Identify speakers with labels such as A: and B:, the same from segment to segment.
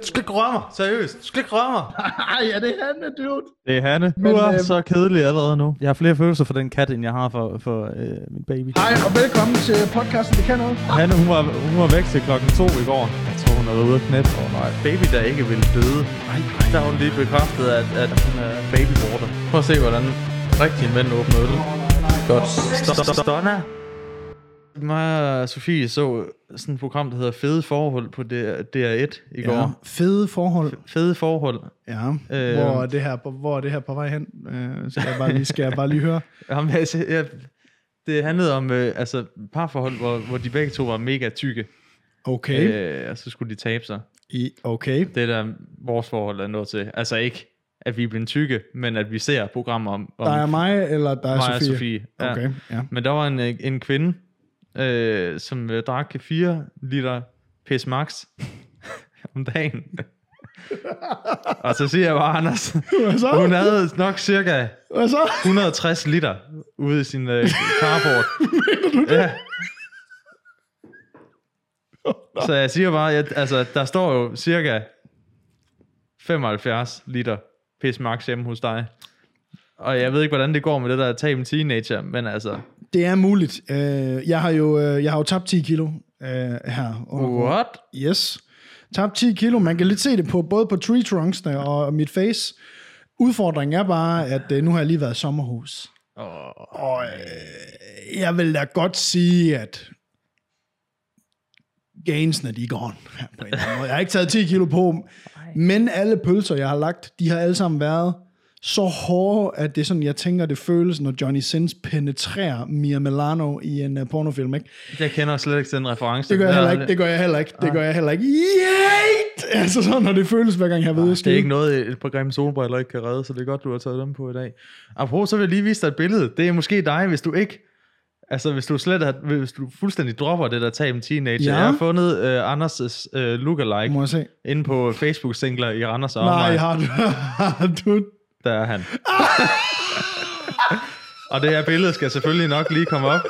A: Du skal ikke røre mig, seriøst. Du skal ikke røre mig.
B: Ej, er det Hanne, dude?
A: Det er Hanne.
B: Men,
A: Men, du er
B: øh,
A: øh... så kedelig allerede nu. Jeg har flere følelser for den kat, end jeg har for, for øh, min baby.
B: Hej, og velkommen til podcasten, det kan noget.
A: Hanne, hun var, hun var væk til klokken to i går. Jeg tror, hun er ude at knæppe. Oh, nej. Baby, der ikke vil døde. Nej, nej. Der har hun lige bekræftet, at, at hun er babyborder. Prøv at se, hvordan rigtig mænd åbner øl. Godt. Stonna. Mig og Sofie så sådan et program, der hedder Fede Forhold på DR1 i går.
B: Ja, fede forhold.
A: Fede Forhold.
B: Ja,
A: Øh.
B: hvor, er det her, på- hvor er det her på vej hen? Øh, skal, jeg bare lige, skal jeg bare lige høre?
A: Jamen, altså, jeg, det handlede om øh, altså, parforhold, hvor, hvor de begge to var mega tykke,
B: Okay, øh.
A: øh, og så skulle de tabe sig.
B: I, okay.
A: Det er der vores forhold er nået til. Altså ikke, at vi er blevet tykke, men at vi ser programmer om, om
B: Der er mig, eller der er
A: mig og
B: Sofie?
A: Sofie. Ja.
B: Okay, ja.
A: Men der var en, øh, en kvinde, øh, som øh, drak 4 liter pis max om dagen. og så siger jeg bare, Anders,
B: Hvad så?
A: hun havde nok cirka
B: Hvad så?
A: 160 liter ude i sin øh, carport. Ja. Så jeg siger bare, at altså, der står jo cirka 75 liter pis max hjemme hos dig. Og jeg ved ikke, hvordan det går med det der tab en teenager, men altså,
B: Det er muligt. Øh, jeg, har jo, øh, jeg har jo tabt 10 kilo øh, her. under corona.
A: what?
B: Yes. Tabt 10 kilo. Man kan lidt se det på både på tree trunksene og mit face. Udfordringen er bare, at øh, nu har jeg lige været i sommerhus.
A: Oh,
B: Og øh, jeg vil da godt sige, at gainsene, de er gone. På en eller anden måde. Jeg har ikke taget 10 kilo på, men alle pølser, jeg har lagt, de har alle sammen været så hårde, at det er sådan, jeg tænker, det føles, når Johnny Sins penetrerer Mia Milano i en uh, pornofilm, ikke?
A: jeg kender slet ikke den reference.
B: Det gør jeg
A: Der-
B: heller ikke, det gør jeg heller ikke, det gør jeg heller ikke. Yay! Altså sådan, når det føles, hver gang jeg ved,
A: Det er ikke noget, et program solbriller ikke kan redde, så det er godt, du har taget dem på i dag. Apropos, så vil jeg lige vise dig et billede. Det er måske dig, hvis du ikke... Altså, hvis du slet har, hvis du fuldstændig dropper det der tab med teenager.
B: Ja.
A: Ja. Jeg har fundet uh, Anders' uh, lookalike
B: Må jeg se?
A: inde på Facebook-singler i Randers og
B: Nej,
A: omegn.
B: har du, har du
A: Der er han. og det her billede skal selvfølgelig nok lige komme op.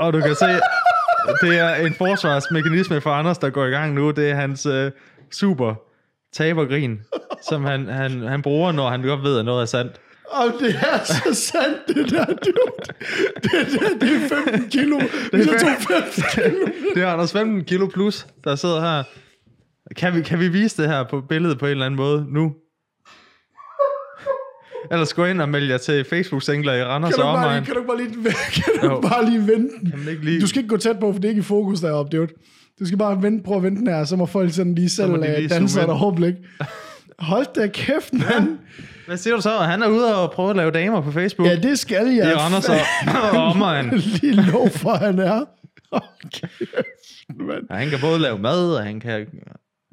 A: Og du kan se, det er en forsvarsmekanisme for Anders, der går i gang nu. Det er hans øh, super tabergrin, som han, han, han bruger, når han godt ved, at noget er sandt.
B: Og det er så sandt, det der, dude. Det, det, det er 15 kilo. Hvis jeg tog 15 kilo.
A: Det er Anders 15 kilo plus, der sidder her. Kan vi, kan vi vise det her på billedet på en eller anden måde nu? Ellers gå ind og meld jer til Facebook-singler i Randers
B: Kan du,
A: og
B: bare
A: omegn.
B: lige, kan du, bare, lige, kan du
A: Jo.
B: bare lige vente den?
A: man ikke lige-
B: Du skal ikke gå tæt på, for det er ikke i fokus deroppe, dude. Du skal bare vente, prøve at vente den her, så må folk sådan lige selv
A: må de
B: øh,
A: lige
B: danse
A: zoome
B: et
A: ind.
B: overblik. Hold da kæft, mand.
A: Hvad siger du så? Han er ude og prøve at lave damer på Facebook.
B: Ja, det skal jeg.
A: I Randers og- og omegn.
B: lige lov for, han er. Hold kæft, mand.
A: Ja, han kan både lave mad, og han kan...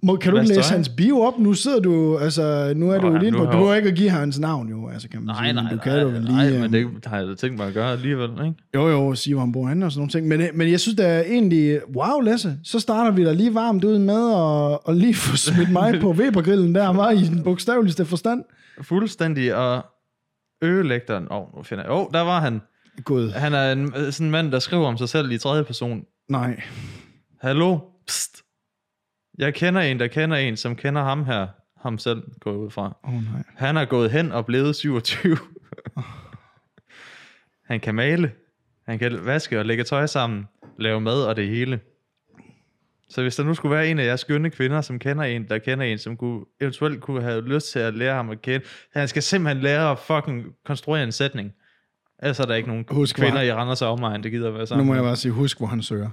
B: Må, kan du
A: Hvad
B: ikke læse
A: står han?
B: hans bio op? Nu sidder du, altså, nu er
A: Nå,
B: du
A: ja,
B: lige
A: nu
B: på,
A: har
B: du
A: jeg-
B: behøver ikke at give hans navn jo, altså kan man sige, men du kan jo lige,
A: nej,
B: øhm,
A: men det har jeg da tænkt mig at gøre alligevel, ikke?
B: jo jo, sige hvor han bor henne og sådan nogle ting, men, øh, men jeg synes da egentlig, wow Lasse, så starter vi da lige varmt ud med at, at lige få smidt mig på Webergrillen der, var i den bogstaveligste forstand.
A: Fuldstændig og øgelægteren. Åh, oh, nu finder jeg... Åh, oh, der var han.
B: Gud,
A: Han er en, øh, sådan en mand, der skriver om sig selv i tredje person.
B: nej.
A: Hallo? Psst. Jeg kender en, der kender en, som kender ham her. Ham selv går jeg ud fra.
B: Åh oh, nej.
A: Han er gået hen og blevet 27. han kan male. Han kan vaske og lægge tøj sammen. Lave mad og det hele. Så hvis der nu skulle være en af jeres skønne kvinder, som kender en, der kender en, som kunne, eventuelt kunne have lyst til at lære ham at kende. Han skal simpelthen lære at fucking konstruere en sætning. Ellers er der ikke nogen
B: Husk,
A: Husk
B: hvor
A: kvinder
B: han-
A: i Randers og omegn, det gider at være
B: Nu
A: sammen.
B: må jeg bare sige, husk hvor han søger.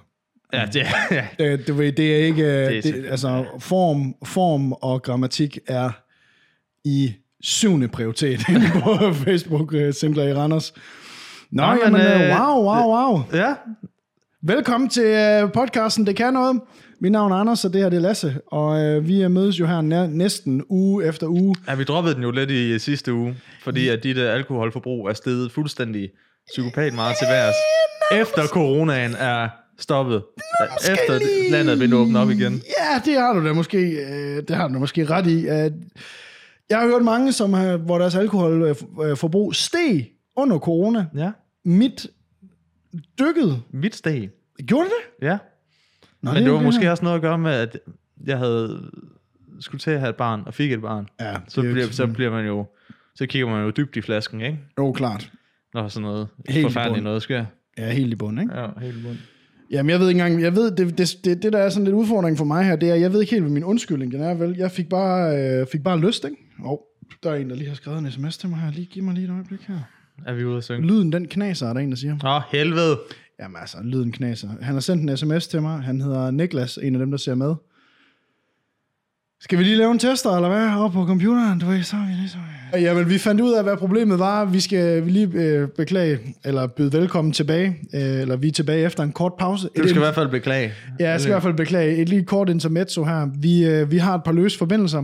A: Ja, det, ja.
B: Det, det, Øh, ved- det er ikke, det
A: er
B: er det,
A: selvfølgelig-
B: altså form, form og grammatik er i syvende prioritet inde på Facebook øh, Singler i Randers. Nå, Nå
A: Nå, men,
B: jamen, øh,
A: øh,
B: wow, wow, wow.
A: ja.
B: Velkommen til øh, podcasten, det kan noget. Mit navn er Anders, og det her det er Lasse, og øh, vi øh, mødes jo her nær, næsten uge efter uge.
A: Ja, vi droppede den jo lidt i øh, sidste uge, fordi at dit øh, alkoholforbrug er steget fuldstændig psykopat meget til værs. Efter coronaen er stoppet. Efter det- landet er blevet åbnet op igen.
B: Ja, det har du da måske, øh, det har du da måske ret i. Øh, Jeg har hørt mange, som har, hvor deres alkoholforbrug øh, steg under corona.
A: Ja,
B: Mit dykkede.
A: mit steg.
B: Gjorde det det?
A: Ja.
B: Nå,
A: Men det var
B: ikke
A: måske også noget at gøre med, at jeg havde skulle til at have et barn, og fik et barn.
B: Ja,
A: Så,
B: det er jo
A: bliver,
B: ikke
A: så bliver man jo, så kigger man jo dybt i flasken, ikke?
B: Jo, klart.
A: Når sådan noget
B: Helt i
A: Helt forfærdeligt
B: bunden.
A: noget sker.
B: Ja, helt i bund, ikke?
A: Ja, helt bund.
B: Jamen, jeg ved ikke engang, jeg ved, det, det, det, det der er sådan lidt udfordring for mig her, det er, jeg ved ikke helt, hvad min undskyldning den er, vel? Jeg fik bare, øh, fik bare lyst, ikke? Åh, oh, der er en, der lige har skrevet en sms til mig her. Lige giv mig lige et øjeblik her.
A: Er vi ude at synge?
B: Lyden, den knaser, er der en, der siger.
A: Åh, oh, helvede.
B: Jamen altså, lyden knaser. Han har sendt en sms til mig. Han hedder Niklas, en af dem, der ser med. Skal vi lige lave en tester, eller hvad? Op på computeren, du ved, så er vi ligesom, lige så... Jamen, vi fandt ud af, hvad problemet var. Vi skal vi lige øh, beklage, eller byde velkommen tilbage. Øh, eller vi er tilbage efter en kort pause.
A: Du
B: Et-
A: skal i hvert fald beklage.
B: Ja, jeg skal i hvert fald beklage. Et lige kort intermezzo her. Vi, øh, vi har et par løse forbindelser.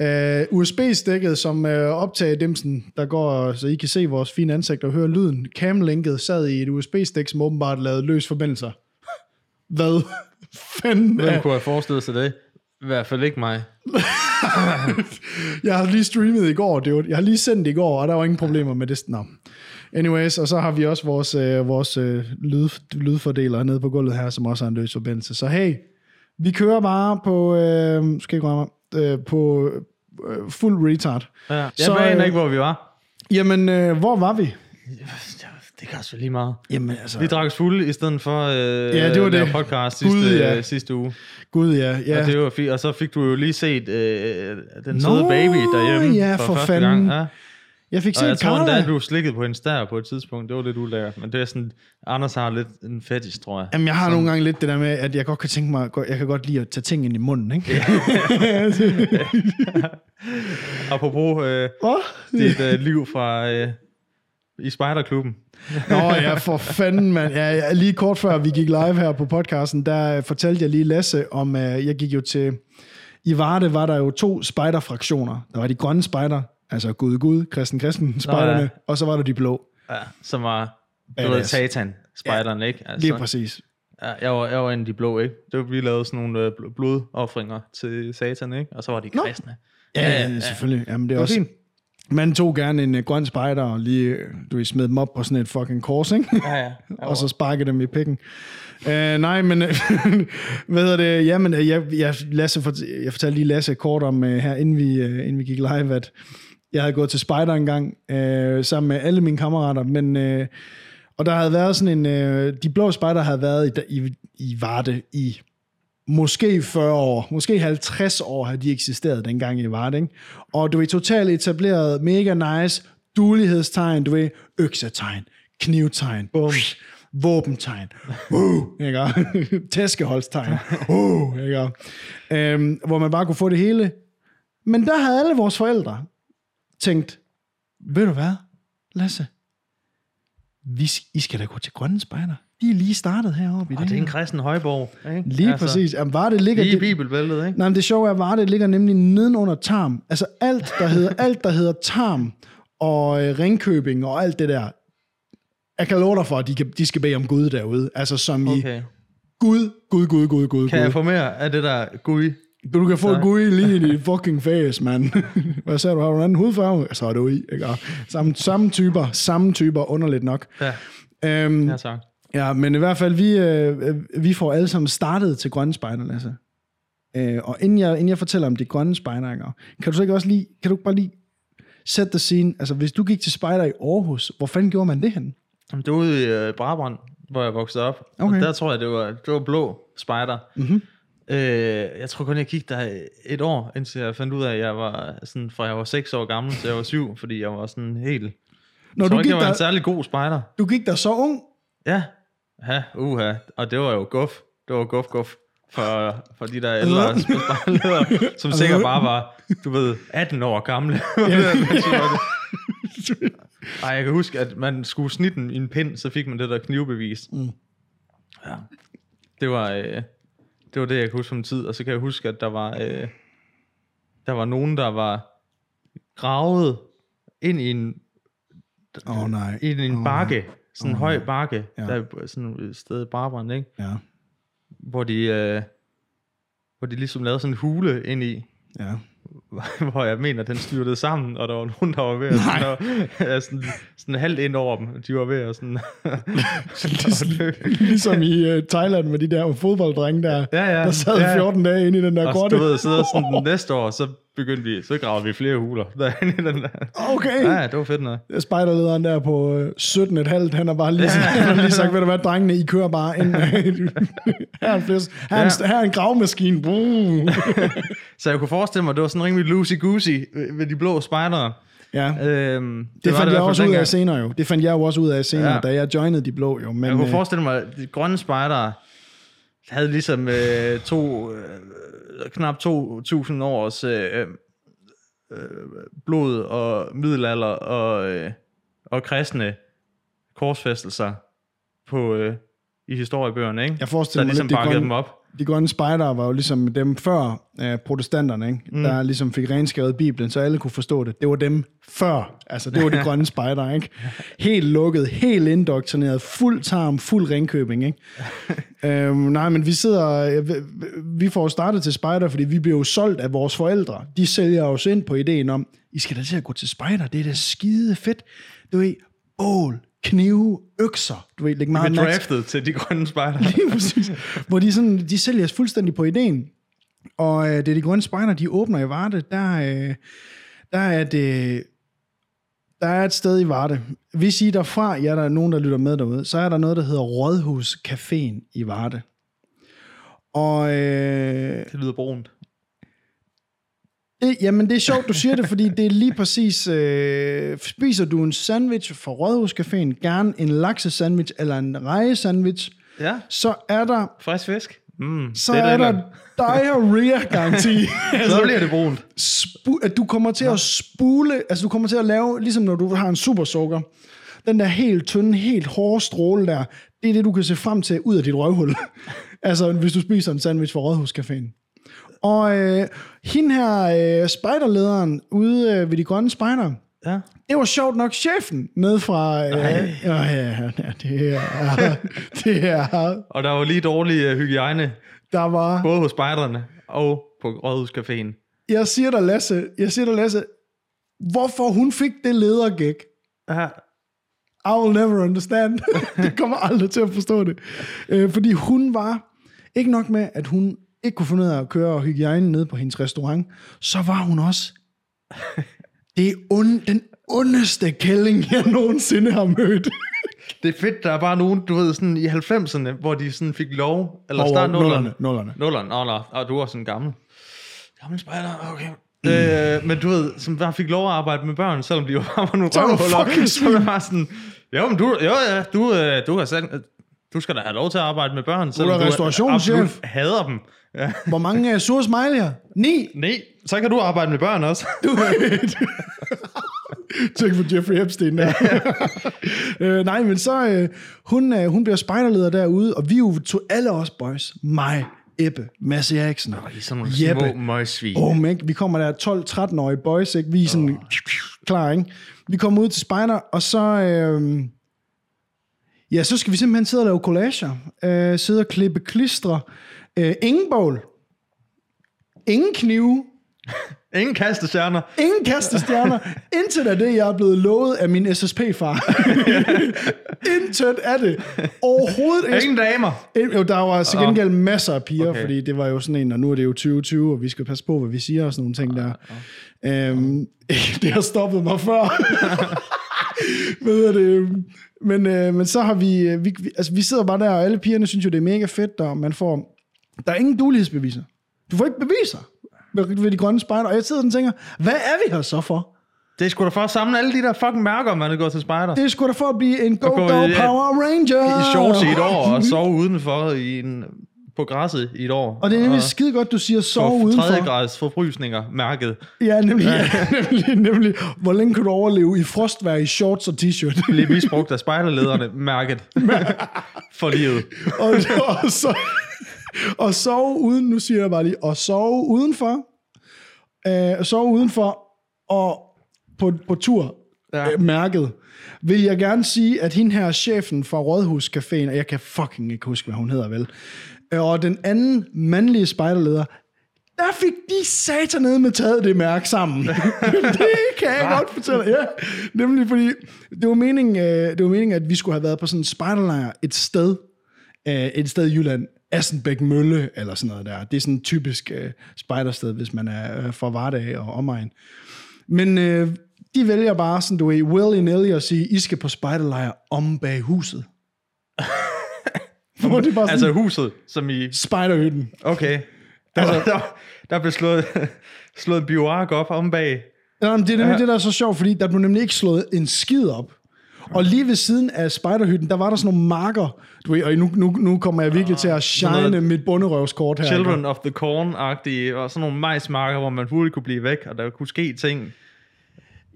B: Øh, USB-stikket, som øh, optager dimsen, der går, så I kan se vores fine ansigt og høre lyden. Camlinket sad i et USB-stik, som åbenbart lavede løse forbindelser. Hvad fanden?
A: Hvem
B: er-
A: kunne have forestillet sig det? I hvert fald ikke mig.
B: Jeg har lige streamet i går, det var, jeg har lige sendt i går, og der var ingen problemer med det. Nå. Anyways, og så har vi også vores, øh, vores øh, lyd, lydfordeler nede på gulvet her, som også har en løs forbindelse. Så hey, vi kører bare på, øh, skal ikke røre mig, øh, på øh, fuld retard.
A: Ja. Jeg
B: Så,
A: så, aner
B: øh,
A: ikke, hvor vi var.
B: Jamen, øh, hvor var vi?
A: Det kan også være lige meget.
B: Jamen altså...
A: Vi drak os fulde i stedet for øh,
B: Ja, det var
A: at lave
B: det.
A: podcast
B: Gud,
A: sidste, Gud,
B: ja.
A: ja. sidste uge.
B: Gud ja,
A: Ja.
B: ja.
A: Og, det var fint. og så fik du jo lige set øh, den søde baby derhjemme
B: ja, for
A: for første
B: fanden.
A: gang. Ja.
B: jeg fik
A: Og jeg
B: set
A: tror endda,
B: Karla.
A: at du slikkede på hendes der på et tidspunkt. Det var lidt ulækkert, men det er sådan, Anders har lidt en fetish, tror jeg.
B: Jamen, jeg har nogle gange lidt det der med, at jeg godt kan tænke mig, jeg kan godt lide at tage ting ind i munden, ikke?
A: Apropos øh,
B: Hvad?
A: dit øh, liv fra øh, i Spejderklubben.
B: Nå ja, for fanden, mand. Ja, ja, lige kort før vi gik live her på podcasten, der øh, fortalte jeg lige Lasse om, øh, jeg gik jo til... I Varde var der jo to spejderfraktioner. Der var de grønne spejder, altså Gud Gud, Kristen Kristen spejderne,
A: ja.
B: og så var der de blå.
A: Ja, som var, du ved,
B: Badass.
A: satan, spejderen, ja, ikke? Altså,
B: Lige præcis.
A: ja, jeg, var, jeg var en af de blå, ikke? Det var, vi lavede sådan nogle øh, bl- blodoffringer til satan, ikke? Og så var de
B: Nå.
A: kristne.
B: Ja, ja, ja selvfølgelig. Jamen, det er
A: var
B: også...
A: fint.
B: Man tog gerne en øh, grøn spejder og lige, øh, du ved, smed dem op på sådan et fucking kors, ikke?
A: Ja, ja. Jeg
B: og så sparke dem i pikken. Øh, nej, men øh, hvad hedder det? Jamen, øh, jeg, jeg, Lasse, fort- jeg fortalte lige Lasse kort om øh, her, inden vi, øh, inden vi gik live, at jeg havde gået til Spider en gang øh, sammen med alle mine kammerater, men... Øh, og der havde været sådan en... Øh, de blå spejder havde været i, i, i Varde i måske 40 år, måske 50 år har de eksisteret dengang i Varde, ikke? Og du er totalt etableret, mega nice, dulighedstegn, du ved, øksetegn, knivtegn, Bum. våbentegn, uh, ikke? tæskeholdstegn, uh, ikke? Øhm, hvor man bare kunne få det hele. Men der havde alle vores forældre tænkt, ved du hvad, Lasse, vi, I skal da gå til Grønne Spejder. De er lige startet heroppe i
A: Og det er en kristen højborg, ikke?
B: Lige altså, præcis. Jamen, var det ligger...
A: Lige i
B: Det,
A: bibelbæltet, ikke?
B: nej, men det sjove er, var det ligger nemlig nedenunder Tarm. Altså alt, der hedder, alt, der hedder Tarm og øh, Ringkøbing og alt det der. Jeg kan love dig for, at de, kan, de skal bede om Gud derude. Altså som okay. i
A: Okay.
B: Gud, Gud, Gud, Gud, Gud,
A: Kan jeg
B: Gud.
A: få mere af det der gui?
B: Du kan få Gud lige i dit fucking face, mand. Hvad sagde du? Har du en anden hudfarve? Så er du i, ikke? Og Samme, samme typer, samme typer, underligt nok.
A: Ja,
B: Øhm,
A: ja tak.
B: Ja, men i hvert fald, vi, øh, øh, vi får alle sammen startet til grønne spejder, Lasse. Øh, og inden jeg, inden jeg fortæller om de grønne spejderinger, kan du så ikke også lige, kan du ikke bare lige sætte dig scene, altså hvis du gik til spejder i Aarhus, hvor fanden gjorde man det hen?
A: Jamen, Det var ude i øh, Brabrand, hvor jeg voksede op.
B: Okay. Mhm.
A: Og der tror jeg, det var, det var blå spejder. Mm-hmm. Øh, jeg tror kun, jeg kiggede der et år, indtil jeg fandt ud af, at jeg var sådan, fra jeg var 6 år gammel til jeg var 7, fordi jeg var sådan helt...
B: Når
A: Jeg
B: du
A: tror
B: gik,
A: ikke, jeg var en
B: der,
A: særlig god spejder.
B: du gik der så ung,
A: Ja, ja, uha. Og det var jo guf. Det var guf, guf. For, for de der
B: Øh.
A: ældre spejledere, som sikkert bare var, du ved, 18 år gamle. Ej, jeg kan huske, at man skulle snitte en, i en pind, så fik man det der knivbevis. Mm. Ja. Det var, øh, det var det, jeg kan huske om tid. Og så kan jeg huske, at der var, øh, der var nogen, der var gravet ind i en,
B: åh oh, nej,
A: ind i en
B: Åh,
A: bakke. Sådan en
B: Åh,
A: høj bakke.
B: Ja.
A: Ja. Der er sådan et sted i Brabrand, ikke?
B: ja,
A: Hvor de, øh, hvor de ligesom lavede sådan en hule ind i,
B: ja,
A: hvor jeg mener, den styrtede sammen, og der var nogen, der var ved at sådan, og, sådan, sådan halvt ind over dem. De var ved at sådan...
B: Ligesom, ligesom i uh, Thailand med de der fodbolddrenge, der,
A: Ja, ja.
B: der sad
A: Ja.
B: 14 dage inde i den der
A: og du
B: grotte.
A: ved, så der sådan næste år, så begyndte vi, så gravede vi flere huler derinde i den der.
B: Okay.
A: Ja, ja, det var fedt noget.
B: spejderlederen der på øh, 17,5, han har bare lige, han har lige sagt, ved du hvad, drengene, I kører bare ind. her, er en flæs, her, er en, her er en gravmaskine. Buh.
A: Så jeg kunne forestille mig, det var sådan rimelig loosey-goosey ved de blå spejdere.
B: ja.
A: Øhm,
B: Det, det
A: var
B: fandt
A: i
B: jeg
A: hvert fald
B: også ud af
A: dengang.
B: senere jo. Det fandt jeg jo også ud af senere,
A: Ja.
B: ja. da jeg joinede de blå jo. Men,
A: Jeg kunne
B: øh,
A: forestille mig, at de grønne spejdere havde ligesom øh, to, øh, knap 2.000 års øh, øh, blod og middelalder og, øh, og kristne korsfæstelser på, øh, i historiebøgerne, ikke?
B: jeg
A: der
B: forestiller mig
A: ligesom
B: lidt, de
A: bakkede dem
B: grønne,
A: op.
B: de grønne spejdere var jo ligesom dem før øh, protestanterne, ikke? Mm. der ligesom fik renskrevet Bibelen, så alle kunne forstå det. Det var dem før, altså det var de grønne spejdere, ikke? Helt lukket, helt indoktrineret, fuld tarm, fuld ringkøbing, ikke? øhm, nej, men vi sidder, øh, vi- vi får jo startet til spejder, fordi vi bliver jo solgt af vores forældre. De sælger os ind på ideen om, I skal da til at gå til spejder, det er da skide fedt. Du ved, bål, knive, økser, du ved, læg meget
A: Vi
B: mærke til-
A: draftet til de grønne spejdere.
B: Lige præcis. Hvor de, sådan, de sælger os fuldstændig på ideen. Og øh, det er de grønne spejder, de åbner i Varde. Der, øh, der er det... Der er et sted i Varde. Hvis I er derfra, ja, der er nogen, der lytter med derude, så er der noget, der hedder Rådhuscaféen i Varde. Og øh,
A: Det lyder brunt.
B: det, jamen, det er sjovt, du siger det, fordi det er lige præcis, øh, spiser du en sandwich fra Rådhuscaféen, gerne en laksesandwich eller en rejesandwich,
A: Ja,
B: så er der
A: frisk fisk. Mm,
B: så
A: det
B: er der
A: lækkert.
B: diarrhea-garanti.
A: Så
B: altså,
A: bliver det brunt.
B: spu- at du kommer til at spule, altså du kommer til at lave, ligesom når du har en supersukker, den der helt tynde, helt hårde stråle der, det er det, du kan se frem til ud af dit røvhul. altså, hvis du spiser en sandwich fra Rådhuscaféen. Og øh, hende her, øh, spejderlederen ude øh, ved de grønne spejder,
A: Ja.
B: det var sjovt nok chefen ned fra... Øh, øh, ja, ja, det er, det er,
A: Og der var lige dårlig øh, hygiejne,
B: der var...
A: både hos spejderne og på Rådhuscaféen.
B: jeg siger dig, Lasse, jeg siger dig, Lasse, hvorfor hun fik det ledergæk,
A: Ja.
B: I will never understand. det kommer aldrig til at forstå det. Øh, fordi hun var, ikke nok med, at hun ikke kunne finde ud af at køre hygiejne ned på hendes restaurant, så var hun også det er ond, den ondeste kælling, jeg nogensinde har mødt.
A: Det er fedt, der er bare nogen, du ved, sådan i 90'erne, hvor de sådan fik lov, eller
B: Over
A: start nullerne.
B: nullerne, nullerne.
A: Nullerne, åh nej, og du var sådan gammel. Gammel spejder, okay. Øh, men du ved, som bare fik lov at arbejde med børn, selvom de jo bare var nogle
B: Så er du
A: røvhuller.
B: fucking
A: Så var det bare sådan, jo, men du, jo, ja, du, øh, du har sagt, øh, du skal da have lov til at arbejde med børn, selvom
B: restaurationschef.
A: absolut hader dem. Ja.
B: Hvor mange uh, sure smiley'er? Ni!
A: Nej, så kan du arbejde med børn også.
B: Tænk på Jeffrey Epstein der. øh, nej, men så, øh, hun, øh, hun bliver spejderleder derude, og vi er jo to alle os boys. Mig, Ebbe, Mads Eriksen,
A: I er sådan nogle
B: Jeppe.
A: små møgsvin.
B: Oh, man, vi kommer der 12-13-årige boys, ikke? Vi er sådan oh. klar, ikke? Vi kommer ud til spejder, og så... Øh, ja, så skal vi simpelthen sidde og lave collager. Øh, sidde og klippe klistre. Øh, ingen bål. Ingen knive.
A: Ingen kastestjerner.
B: Ingen kastestjerner. Intet af det, jeg er blevet lovet af min SSP-far. Intet af det. Overhovedet ikke.
A: Ingen damer.
B: Jo, der var til gengæld masser af piger,
A: Okay.
B: okay. fordi det var jo sådan en, og nu er det jo 2020, og vi skal passe på, hvad vi siger og sådan nogle ting
A: Ah,
B: der. Øhm, det har stoppet mig før. Hvad hedder det? Men, øh, men så har vi, øh, vi, vi- altså vi sidder bare der, og alle pigerne synes jo, det er mega fedt, og man får, der er ingen dulighedsbeviser. Du får ikke beviser ved, ved de grønne spejder, og jeg sidder sådan og tænker, hvad er vi her så for?
A: Det er sgu da for at samle alle de der fucking mærker, man er gået til spejder.
B: Det er sgu da for at blive en go,
A: gå i- øh,
B: go Power Ranger!
A: I shorts i et år, og sove udenfor i en, på græsset i et år.
B: Og det er nemlig skide godt, du siger sove
A: og
B: udenfor.
A: Ah. tredje grads forfrysninger mærket.
B: Ja, nemlig, ja. nemlig, nemlig. Hvor længe kan du overleve i frostvær i shorts og t-shirt?
A: Blev misbrugt af spejderlederne mærket. For livet.
B: og, og, så, og sove uden, nu siger jeg bare lige, og sove udenfor, øh, sove udenfor og på, på tur
A: Ja.
B: ja. øh, mærket, vil jeg gerne sige, at hende her er chefen fra Rådhuscaféen, og jeg kan fucking ikke huske, hvad hun hedder vel, øh, og den anden mandlige spejderleder, Der fik de satanede med taget det mærke sammen. det kan jeg godt fortælle. Ja, nemlig fordi, det var, meningen, øh, det var meningen, at vi skulle have været på sådan en spejderlejr et sted, øh, et sted i Jylland, Assenbæk Mølle eller sådan noget der. Det er sådan et typisk øh, spejdersted, hvis man er øh, fra Vardag og omegn. Men øh, de vælger bare, sådan du ved, willy nilly at sige, I skal på spejderlejr om bag huset. Hvor det er bare sådan,
A: Altså
B: altså,
A: huset, som i...
B: spejderhytten.
A: Okay. Der, altså, der, der blev slået, slået en bioark op om bag.
B: Nå, men det er nemlig det, der er så sjovt, fordi der blev nemlig ikke slået en skid op. Og lige ved siden af spejderhytten, der var der sådan nogle marker. Du ved, og nu, nu, nu kommer jeg virkelig til at shine
A: Ah, sådan noget-
B: mit bunderøvskort her.
A: Children of the Corn-agtige, og sådan nogle majsmarker, hvor man hurtigt kunne blive væk, og der kunne ske ting.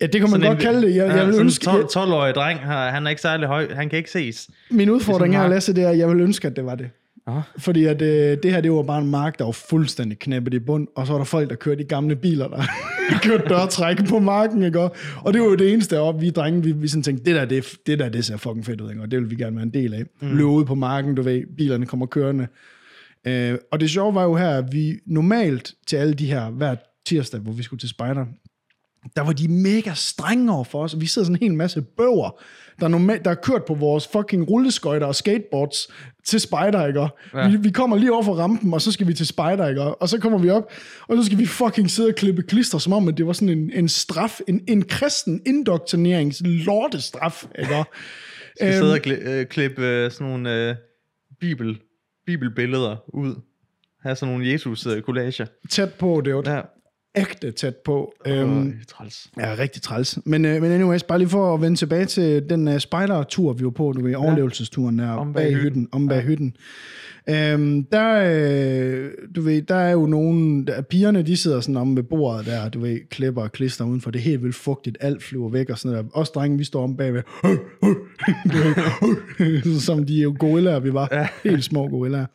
B: Ja, det kan man
A: Sådan
B: godt kalde det. Jeg,
A: ja,
B: jeg
A: sådan
B: vil
A: en
B: ønske,
A: 12,
B: jeg,
A: 12-årig dreng, her, han er ikke særlig høj, han kan ikke ses.
B: min udfordring
A: sådan
B: her,
A: mark.
B: Lasse, det er, at jeg vil ønske, at det var det.
A: Ah.
B: Fordi at, øh, det her, det var bare en mark, der var fuldstændig knæppet i bund, og så var der folk, der kørte i gamle biler, der kørte dørtrækken på marken, ikke? Og og det var jo det eneste deroppe, vi drenge, vi, vi sådan tænkte, det der, det, det der, det ser fucking fedt ud, ikke? Og det vil vi gerne være en del af. Mm. Løbe ud på marken, du ved, bilerne kommer kørende. Øh, og det sjove var jo her, at vi normalt til alle de her, hver tirsdag, hvor vi skulle til spejder, der var de mega strenge over for os, og vi sidder sådan en hel masse bøger, der, er normalt, der er kørt på vores fucking rulleskøjter og skateboards til spider, ikke? Ja. Vi, vi, kommer lige over for rampen, og så skal vi til spider, ikke? Og så kommer vi op, og så skal vi fucking sidde og klippe klister, som om at det var sådan en, en straf, en, en kristen indoktrinerings lortestraf, ikke? Øhm,
A: Vi sidder og kli- øh, klippe øh, sådan nogle øh, bibel, bibelbilleder ud. Have sådan nogle Jesus-collager.
B: tæt på, det var
A: Ja.
B: ægte tæt på. Øhm,
A: Øhm. Træls.
B: Ja, rigtig træls. Men, øh, men anyways, bare lige for at vende tilbage til den øh, spejdertur, vi var på, du ved, overlevelsesturen der, om
A: Om
B: bag
A: bag
B: hytten.
A: hytten.
B: om bag hytten. Øhm, der, øh, du ved, der er jo nogle, der, pigerne, de sidder sådan om ved bordet der, du ved, klipper og klister udenfor, det er helt vildt fugtigt, alt flyver væk og sådan noget der. Os drenge, vi står om bagved, du ved, som de jo gorillaer, vi var, helt små gorillaer.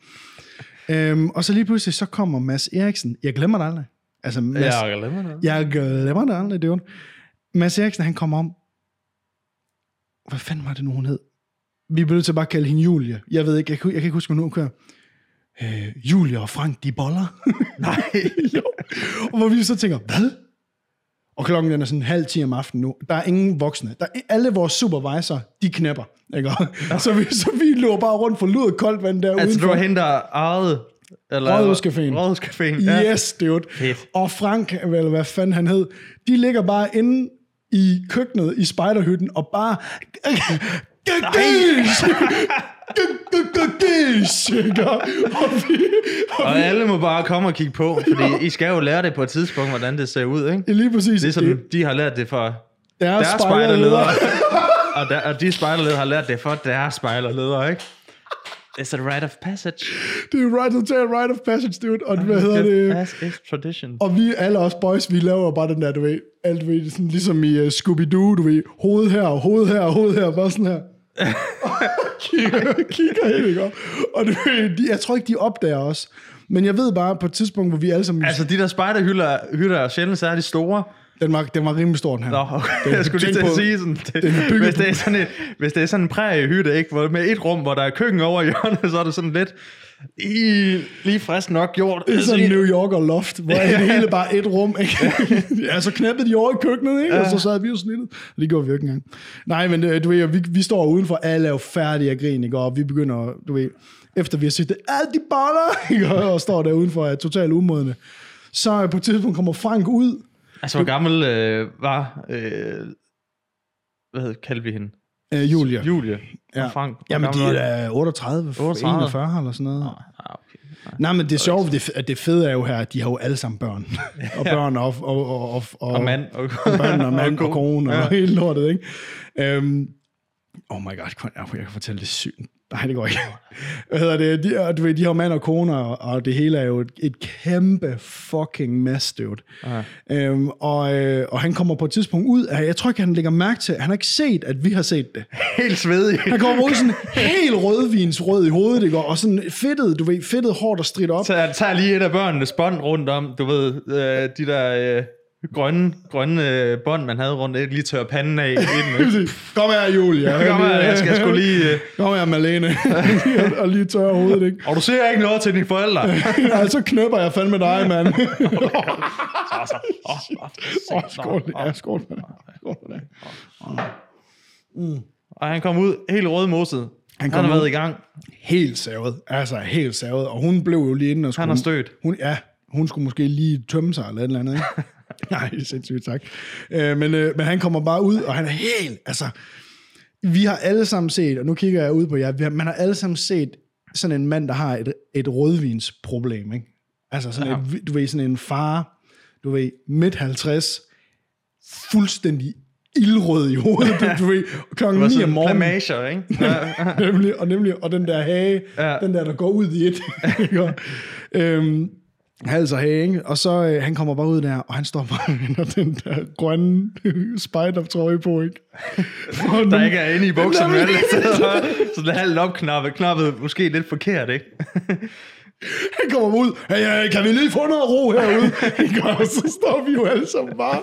B: Øhm, og så lige pludselig, så kommer Mads Eriksen, jeg glemmer det aldrig, altså Mads,
A: Jeg kan lade mig noget.
B: jeg glemmer det aldrig, dude. Mads Eriksen, han kommer om. Hvad fanden var det nu, hun hed? Vi blev nødt til at bare kalde hende Julie. Jeg ved ikke, jeg kan, jeg kan ikke huske, hvad hun kører. Øh, Julie og Frank, de boller. Nej. jo. Og hvor vi så tænker, hvad? Og klokken den er sådan halv 10 om aftenen nu. Der er ingen voksne. Der er, alle vores supervisor, de knæpper. Ikke? Så, vi, så vi løber bare rundt for ludet koldt vand der
A: Altså, det var hende, der ejede... eller-
B: Rådhuscaféen.
A: Rådhuscaféen, ja.
B: Yes, dude.
A: Fedt.
B: Og Frank, eller hvad fanden han hed, de ligger bare inde i køkkenet i spejderhytten og bare... Gagdish! Gagdish! Og vi... Og
A: Og alle må bare komme og kigge på, fordi I skal jo lære det på et tidspunkt, hvordan det ser ud, ikke?
B: vi lige præcis...
A: Ligesom
B: det-
A: de har lært det fra
B: deres
A: deres spejderledere. og, der, og de spejderledere har lært det for deres spejderledere, ikke? It's a rite of passage.
B: Det er right, det er right of passage, dude. Og hvad hedder det?
A: As is tradition.
B: Og vi alle os boys, vi laver bare den der, du ved, alt, du ved, sådan, ligesom i uh, Scooby-Doo, du ved, hoved her, hoved her, hoved her, bare sådan her. kigger, kigger helt, ikke? Og- Og du ved, de, jeg tror ikke, de opdager os. Men jeg ved bare, på et tidspunkt, hvor vi alle sammen...
A: Altså, de der spejderhytter hytter er sjældent særlig store.
B: den, var, den var rimelig stor, den her.
A: Nå, okay. jeg skulle lige til
B: tænk
A: at
B: på-
A: sige sådan,
B: den er
A: det,
B: bygget
A: hvis, det
B: på-
A: er sådan et, hvis det er sådan en præriehytte, ikke, hvor med et rum, hvor der er køkken over i hjørnet, så er det sådan lidt i, lige frisk nok gjort.
B: Det er sådan New Yorker loft, hvor det hele bare et rum. Ikke? ja, så knæppede de over i køkkenet, ikke? og så sad vi jo snittet. Det gjorde vi jo ikke engang. Nej, men øh, du ved, vi, vi står udenfor, alle er jo færdige af grin, ikke? og vi begynder, du ved, efter vi har set det, alle de boller, ikke? og og står der udenfor og er totalt umodne. Så øh, på et tidspunkt kommer Frank ud,
A: altså, hvor gammel øh, var, øh, hvad hed- kaldte vi hende?
B: øh, Julia.
A: Julie
B: Ja.
A: og Frank. Hvor
B: Jamen, de
A: gammel
B: er
A: var
B: da 38,
A: 38.
B: 41 eller sådan noget.
A: Ah, okay. Nej.
B: Nej, men det sjove, det, at det fede er jo her, at de har jo alle sammen børn. og børn og, og, og, og,
A: Og mand. Og,
B: og børn og mand og
A: ko-
B: kone og
A: Ja.
B: hele lortet, ikke? Um, oh my god, kun- jeg kan fortælle det sygt. Nej, det går ikke. Hvad hedder det? De, og du ved, de har jo mand og kone, og, og det hele er jo et, et kæmpe fucking mess, dude. Øhm, og, øh, og han kommer på et tidspunkt ud af, jeg tror ikke, han lægger mærke til, han har ikke set, at vi har set det.
A: Helt svedig.
B: Han kommer ud sådan helt rødvinsrød i hovedet, ikke? Og sådan fedtet, du ved, fedtet hår, der strider op.
A: Så jeg tager lige et af børnenes bånd rundt om, du ved, øh, de der øh, grønne, grønne øh, bånd, man havde rundt, ikke lige tørre panden af. Inden, ikke?
B: Kom her, Julia.
A: Kom her, jeg skal sgu lige... Øh,
B: Kom her, Malene. og lige tørre hovedet, ikke?
A: og du ser ikke noget til dine forældre.
B: Nej, så knøpper jeg fandme dig, mand.
A: så, så. Åh, oh,
B: Åh, skål. Ja, skål. for det. Skål for det.
A: Og han kom ud helt rødmoset. Han,
B: kom
A: han har
B: ud.
A: været i gang.
B: Helt savet. Altså, helt savet. Og hun blev jo lige inde og skulle...
A: Han har stødt.
B: Hun, ja, hun skulle måske lige tømme sig eller et eller andet, ikke? Nej, sindssygt tak. Øh, men, øh, men han kommer bare ud, og han er helt, altså... Vi har alle sammen set, og nu kigger jeg ud på jer, vi har, man har alle sammen set sådan en mand, der har et, et rødvinsproblem, ikke? Altså sådan ja. et, du ved, sådan en far, du ved, midt 50, fuldstændig ildrød i hovedet, du, du ved,
A: Det
B: klokken
A: var
B: 9 om
A: sådan
B: morgenen.
A: plamager, ikke? Ja.
B: nemlig, og nemlig, og den der hage,
A: Ja.
B: ja. den der, der går ud i et. ikke? Og, øhm, hals og hage, ikke? Og så, øh, han kommer bare ud der, og han står bare med den der grønne spider-trøje på, ikke? Og
A: Der
B: nu-
A: ikke er inde i bukserne.
B: Nemlig.
A: vel? Så- så det er halvt opknappet. Knappet måske lidt forkert, ikke?
B: Han kommer ud, hey, øh, kan vi lige få noget ro herude? ikke? Og så står vi jo alle sammen bare,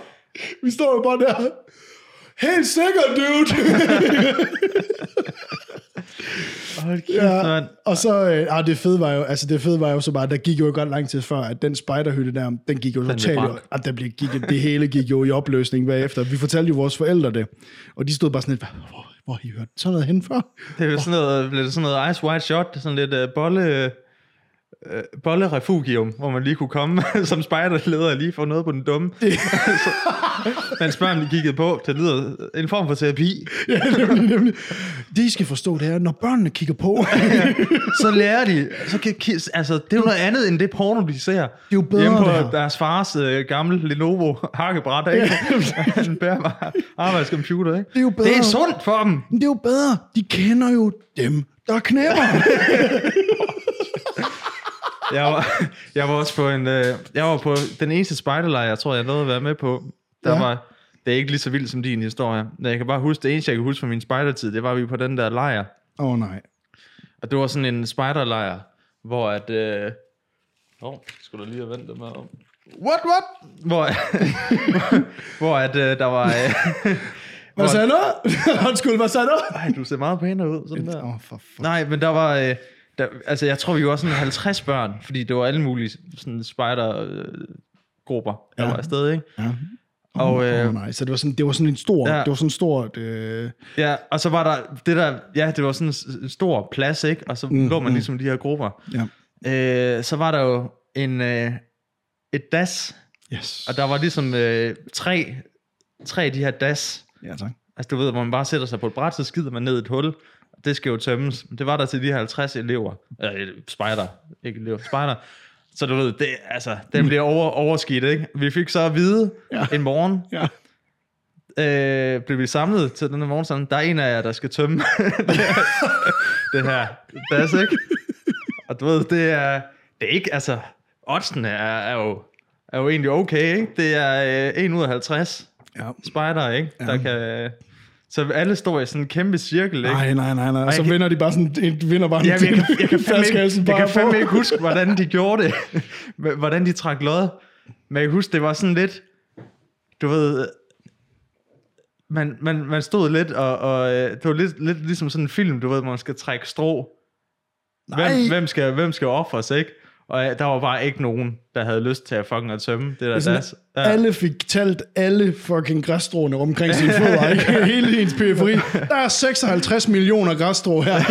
B: vi står jo bare der, helt sikkert, dude!
A: Hold kæft,
B: Ja,
A: mand.
B: og så, øh, ah, det fede var jo, altså det fede var jo så bare, der gik jo godt lang tid før, at den spejderhytte der, den gik jo totalt,
A: brændt.
B: at der blev, gik, det hele gik jo i opløsning bagefter. Vi fortalte jo vores forældre det, og de stod bare sådan lidt, "Hva- hvor, hvor har I hørt sådan noget hen før?
A: Det er jo sådan noget, blev det sådan noget Ice White Shot, sådan lidt øh, bolle, øh, bollerefugium, hvor man lige kunne komme som spejderleder og lige få noget på den dumme. så, man spørger, om de kiggede på. Det lyder en form for terapi.
B: ja, nemlig, nemlig. Det I skal forstå, det er, når børnene kigger på, det
A: Så lærer de. Så kan, ki- altså, det er jo noget andet, end det porno, de ser. Det er
B: jo bedre,
A: Hjemme på
B: det her.
A: deres fars øh, gamle Lenovo hakkebræt, ikke? Han bærer bare arbejdscomputer, ikke? Det
B: er jo
A: Det er
B: bedre.
A: sundt for dem.
B: er jo bedre, de kender jo dem, der knæpper.
A: jeg, var, jeg var også på en... Øh, jeg var på den eneste spejderlejr, jeg tror, jeg nåede at være med på. Der
B: Ja.
A: ja. var... Det er ikke lige så vildt som din historie. Men jeg kan bare huske, det eneste, jeg kan huske fra min spejdertid, det var, at vi var på den der lejr.
B: Åh oh, nej.
A: Og det var sådan en spejderlejr, hvor at... Øh, Åh, oh, skulle da lige have vendt dem her om. What, what? Hvor, hvor at øh, der var... Øh,
B: Hvad sagde du? Undskyld, hvad sagde du?
A: ej, du ser meget pænere ud, sådan der.
B: Åh, oh, for fuck.
A: Nej, men der var... Øh, der, altså, jeg tror, vi var sådan 50 børn, fordi det var alle mulige sådan spider-grupper, der
B: Ja.
A: var afsted, ikke?
B: Ja.
A: Og,
B: Åh
A: øh,
B: oh, nej, så det var sådan, det var sådan en stor,
A: Ja.
B: ja. det var sådan en stor, øh,
A: ja, og så var der det der... Ja, det var sådan en s- en stor plads, ikke? Og så mm, lå man ligesom i de her grupper.
B: ja.
A: Øh, så var der jo en, øh, et das,
B: Yes.
A: og der var ligesom øh, tre, tre af de her das.
B: Ja, tak.
A: Altså, du ved, hvor man bare sætter sig på et bræt, så skider man ned i et hul. Det skal jo tømmes. Det var der til de her 50 elever. Eller spejder. Ikke elever, spejder. Så du ved, det, altså, den bliver over, overskidt, ikke? Vi fik så at vide ja.
B: Ja.
A: en morgen,
B: Ja.
A: øh, blev vi samlet til den her morgen, sådan, der er en af jer, der skal tømme det her. det her. Das, ikke? Og du ved, det er, det er ikke, altså, oddsene er, er, jo, er jo egentlig okay, ikke? Det er øh, 1 ud af 50
B: ja.
A: spider, ikke? Ja. Der kan... Så alle står i sådan en kæmpe cirkel, ikke?
B: Nej, nej, nej, nej. Så
A: jeg kan-
B: vinder de bare sådan, de vinder bare
A: Jamen, jeg, kan, jeg, kan fandme
B: flaskehalsen
A: ikke, jeg
B: altså bare
A: kan fandme
B: på.
A: ikke huske, hvordan de gjorde det. hvordan de trak lod. Men jeg kan huske, det var sådan lidt... Du ved... Man, man, man stod lidt, og, og øh, det var lidt, lidt ligesom sådan en film, du ved, hvor man skal trække strå. Hvem,
B: Nej.
A: hvem, skal, hvem skal ofres, ikke? Og øh, der var bare ikke nogen, der havde lyst til at fucking at tømme det der
B: Sådan,
A: das. Ja.
B: Alle fik talt alle fucking græsstråene omkring sine fødder, ikke? Hele ens periferi. Der er 56 millioner græsstrå her.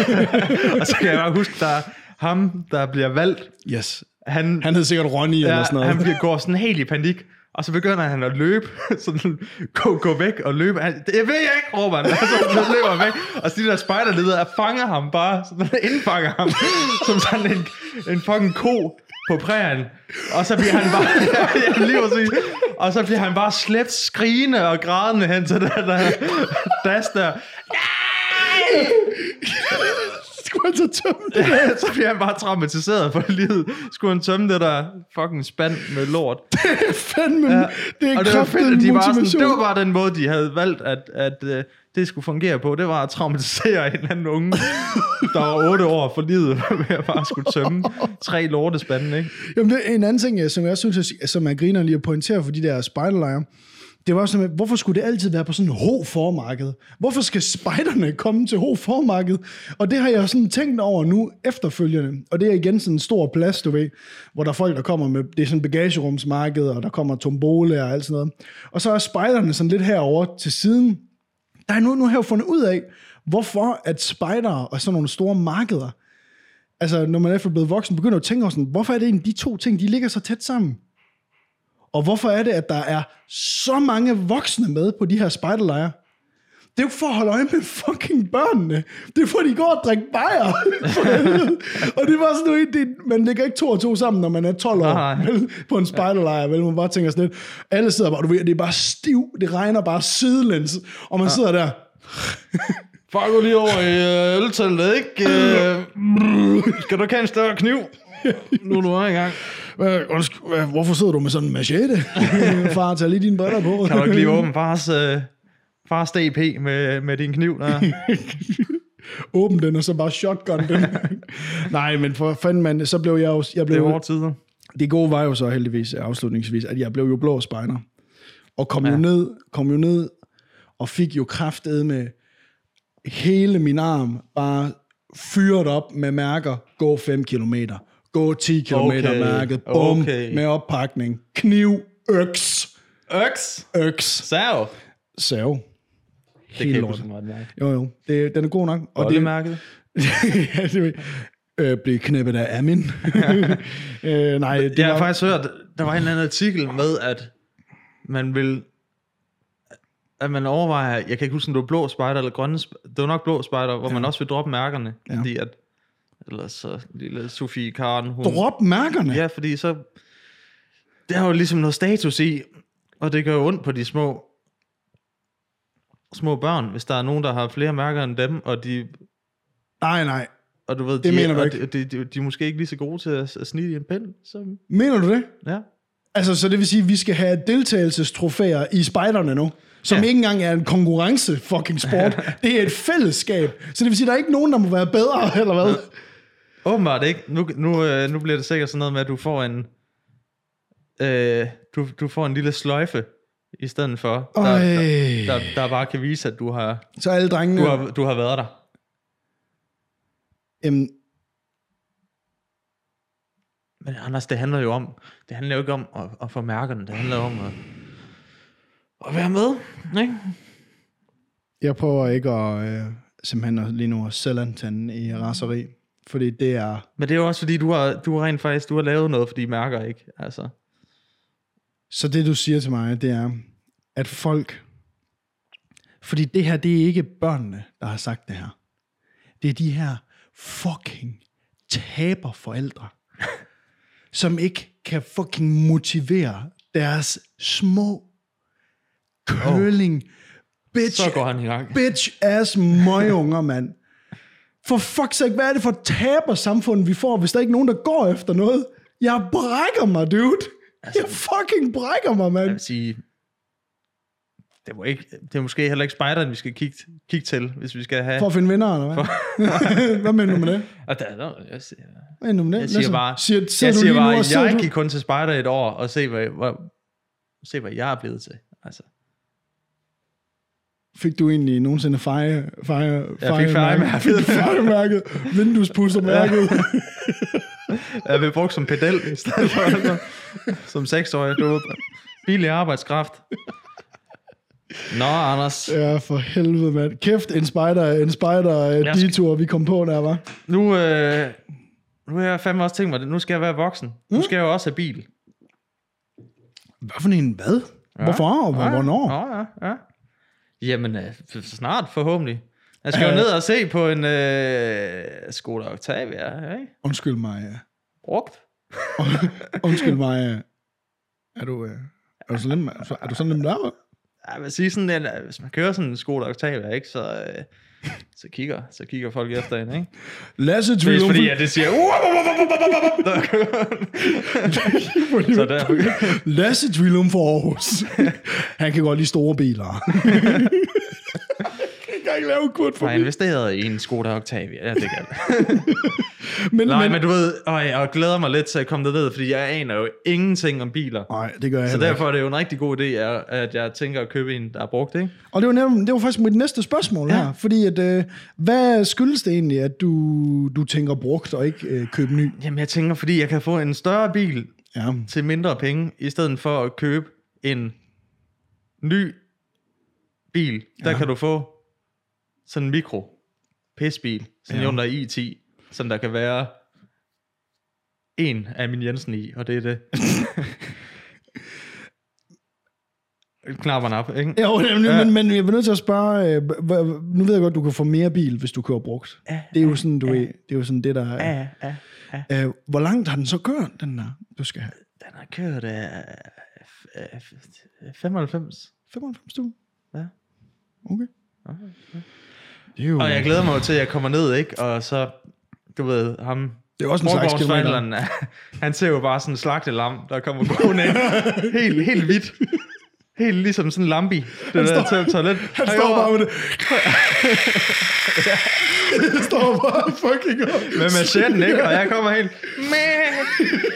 A: Og så kan jeg bare huske, der er ham, der bliver valgt,
B: Yes.
A: han,
B: Han hed sikkert Ronny ja, eller sådan
A: Ja,
B: noget.
A: han bliver, går sådan helt i panik, og så begynder han at løbe, sådan, gå, gå væk og løbe. Han, det vil jeg ikke, råber han, og så han løber han væk. Og så de der spejderledere fanger ham bare, sådan, indfanger ham, som sådan en, en fucking ko på prærien. Og så bliver han bare, ja, lige præcis. og så bliver han bare slet skrigende og grædende hen til der, der, das der.
B: Skulle han så tømme det?
A: Ja, så bliver han bare traumatiseret for livet. Skulle han tømme det der fucking spand med lort.
B: Det er fandme, ja. det er
A: Og det var
B: kraftigt
A: fedt, at de var sådan,
B: motivation.
A: det var bare den måde, de havde valgt, at, at øh, det skulle fungere på. Det var at traumatisere en eller anden unge, der var otte år for livet, ved at bare skulle tømme tre lortespande, ikke?
B: Jamen, det er en anden ting, øh, som jeg synes, er- som er griner lige at pointere for de der spejderlejre, det var sådan, at hvorfor skulle det altid være på sådan en H-formarked? Hvorfor skal spejderne komme til H-formarked? Og det har jeg sådan tænkt over nu efterfølgende. Og det er igen sådan en stor plads, du ved, hvor der er folk, der kommer med, det er sådan bagagerumsmarked, og der kommer tombole og alt sådan noget. Og så er spejderne sådan lidt herover til siden, der er nu, nu har jeg jo fundet ud af, hvorfor at spejdere og sådan nogle store markeder, altså når man er blevet voksen, begynder at tænke over sådan, hvorfor er det egentlig de to ting, de ligger så tæt sammen? Og hvorfor er det, at der er så mange voksne med på de her spejderlejre? Det er jo for at holde øje med fucking børnene. Det er for, at de går og drikker bajer. For helvede. og det var sådan noget, det, man lægger ikke to og to sammen, når man er 12 år
A: Nej, nej.
B: vel, på en spejderlejr. Vel, man bare tænker sådan lidt. Alle sidder bare, du ved, det er bare stiv, det regner bare sidelæns. Og man ja. sidder der,
A: Fuck gå lige over i øh, ølteltet, ikke? Øh, skal du ikke have en større kniv? Nu er du her i gang.
B: Hvad, undskyld, hvad, hvorfor sidder du med sådan en machete? Far, tag lige dine briller på.
A: Kan du ikke lige åbne fars, øh, fars DP med, med din kniv? Der?
B: Åbn den, og så bare shotgun den. Nej, men for fanden, man, så blev jeg jo... Jeg
A: Det er
B: blev,
A: hårde tider.
B: det gode var jo så heldigvis øh, afslutningsvis, at jeg blev jo blå spejder. Og kom ja. jo ned, kom jo ned, og fik jo kraftet med hele min arm, bare fyret op med mærker, gå 5 km, gå 10 km
A: Okay,
B: okay. mærket, bum,
A: okay.
B: okay. med oppakning, kniv, øks,
A: Øks!
B: øks,
A: Sav!
B: sav.
A: Det kan jeg
B: Helt
A: ikke huske, hvor
B: lort.
A: meget den er.
B: Jo, jo. Det, den er god nok. Og det,
A: Bollemærket.
B: ja, det ved- øh, blev knæppet af Amin. øh, nej, det
A: Jeg har
B: var,
A: faktisk hørt, der var en eller anden artikel med, at man vil at man overvejer, jeg kan ikke huske, om det var blå spejder eller grønne spejder, det var nok blå spejder, hvor ja. man også vil droppe mærkerne, ja. fordi at, eller så lille Sofie Karen, hun,
B: drop mærkerne.
A: ja, fordi så, det har jo ligesom noget status i, og det gør jo ondt på de små, små børn, hvis der er nogen, der har flere mærker end dem, og de,
B: Nej, nej.
A: og du ved, de,
B: Det mener du
A: og
B: ikke.
A: de, de, de, de, er måske ikke lige så gode til at, at snige i en pind, så
B: Mener du det?
A: ja.
B: Altså, så det vil sige, at vi skal have deltagelsestrofæer i spejderne nu, som
A: Ja.
B: ja. ikke engang er en konkurrence fucking sport. det er et fællesskab. Så det vil sige, at der er ikke nogen, der må være bedre, eller hvad?
A: Åbenbart ikke. Nu, nu, øh, nu bliver det sikkert sådan noget med, at du får en, øh, du, du får en lille sløjfe i stedet for, der,
B: Øj.
A: der, der, der bare kan vise, at du har,
B: Så alle drengene...
A: du har, du har været der.
B: Jamen,
A: Men Anders, det handler jo om, det handler jo ikke om at, at få mærkerne, det handler jo om at, at være med, ikke?
B: Jeg prøver ikke at, øh, simpelthen at, lige nu at sælge antanden i raseri, fordi det er...
A: Men det er jo også fordi, du har, du har rent faktisk du har lavet noget for de mærker, ikke? Altså,
B: Så det, du siger til mig, det er, at folk... Fordi det her, det er ikke børnene, der har sagt det her. Det er de her fucking taberforældre, som ikke kan fucking motivere deres små curling bitch
A: så går han i gang.
B: bitch ass møgunger, mand. For fuck's sake, hvad er det for taber samfund, vi får, hvis der ikke er nogen, der går efter noget? Jeg brækker mig, dude. Altså, jeg fucking brækker mig,
A: Jeg vil
B: mand.
A: sige, det, må ikke, det er måske heller ikke spejderen, vi skal kigge, kigge til, hvis vi skal have...
B: For at finde vinder, eller hvad? hvad mener du med det?
A: Og der, der, jeg, siger,
B: Hvad mener du med det?
A: jeg siger
B: Lasse,
A: bare,
B: siger, siger
A: jeg
B: du
A: siger
B: lige
A: bare
B: nu, og sidder
A: jeg
B: du-
A: gik kun til spejder i et år, og se hvad, hvor, se, hvad jeg er blevet til. Altså,
B: Fik du egentlig nogensinde feje, feje,
A: jeg fik fejemærket.
B: fejemærket, vinduespussermærket.
A: jeg blev brugt som pedel i stedet for altså, som seksårig. Du ved, billig arbejdskraft. Nå, Anders.
B: ja, for helvede, mand. Kæft, en spider, en spider øh,
A: Jeg skal-
B: detour, vi kom på der, var.
A: Nu, øh, nu har jeg fandme også tænkt mig, at nu skal jeg være voksen.
B: Mm.
A: Nu skal jeg jo også have bil.
B: Hvad for en hvad? Hvorfor og
A: Ja,
B: hvornår?
A: Ja, ja, ja. Jamen, øh, f- snart forhåbentlig. Jeg skal jo ned og se på en øh, Skoda Octavia, ikke?
B: Undskyld mig. ja.
A: Brugt.
B: Undskyld mig. øh, Er du, øh, er du sådan nem, er du sådan nem der?
A: Jeg vil sige sådan, at hvis man kører sådan en Skoda Octavia, ikke, så, øh, Så kigger, så kigger folk efter hende, ikke?
B: Lasse
A: Det er
B: Triumf.
A: fordi, at det siger... "Wow, wow, wow, wow, wow, wow, wow." Så der,
B: Lasse Triumf for Aarhus. Han kan godt lide store biler. Han kan ikke lave kurt for
A: har jeg investeret i en Skoda Octavia. Ja, det kan jeg.
B: men,
A: Nej,
B: men,
A: men du ved, og jeg glæder mig lidt til at komme derned, fordi jeg aner jo ingenting om biler.
B: Nej, det gør jeg
A: Så
B: heller ikke.
A: derfor er det jo en rigtig god idé, at- at jeg tænker at købe en, der er brugt, ikke?
B: Og det var, netop, det var faktisk mit næste spørgsmål ja. her, fordi at, øh, hvad skyldes det egentlig, at du, du tænker brugt og ikke øh, købe ny?
A: Jamen, jeg tænker, fordi jeg kan få en større bil
B: Ja.
A: til mindre penge, i stedet for at købe en ny bil, der kan du få sådan en mikro pisbil, sådan en Hyundai i10, som der kan være en af min Jensen i, og det er det. Knapperne op, ikke?
B: Jo, nemlig, ja. men, men jeg bliver nødt til at spørge, øh, h- h- nu ved jeg godt, du kan få mere bil, hvis du kører brugt. Ja, det er jo sådan, du ja. det er jo sådan det, der er.
A: Ja, ja.
B: Øh, hvor langt har den så kørt, den der, du skal have?
A: Den har kørt øh, uh, 95.
B: 95 du?
A: Ja.
B: Okay. Det er jo,
A: Og jeg glæder mig jo til, at jeg kommer ned, ikke? Og så, du ved, ham...
B: Det er også en slags kilometer.
A: kilometer. Han ser jo bare sådan en slagtelam, der kommer gående ind. helt, helt hvidt. Helt ligesom sådan en lambi. Det han der
B: står-
A: til toilet.
B: Han står bare med det. Han står bare fucking op.
A: med machetten, ikke? Og jeg kommer helt... Mæh,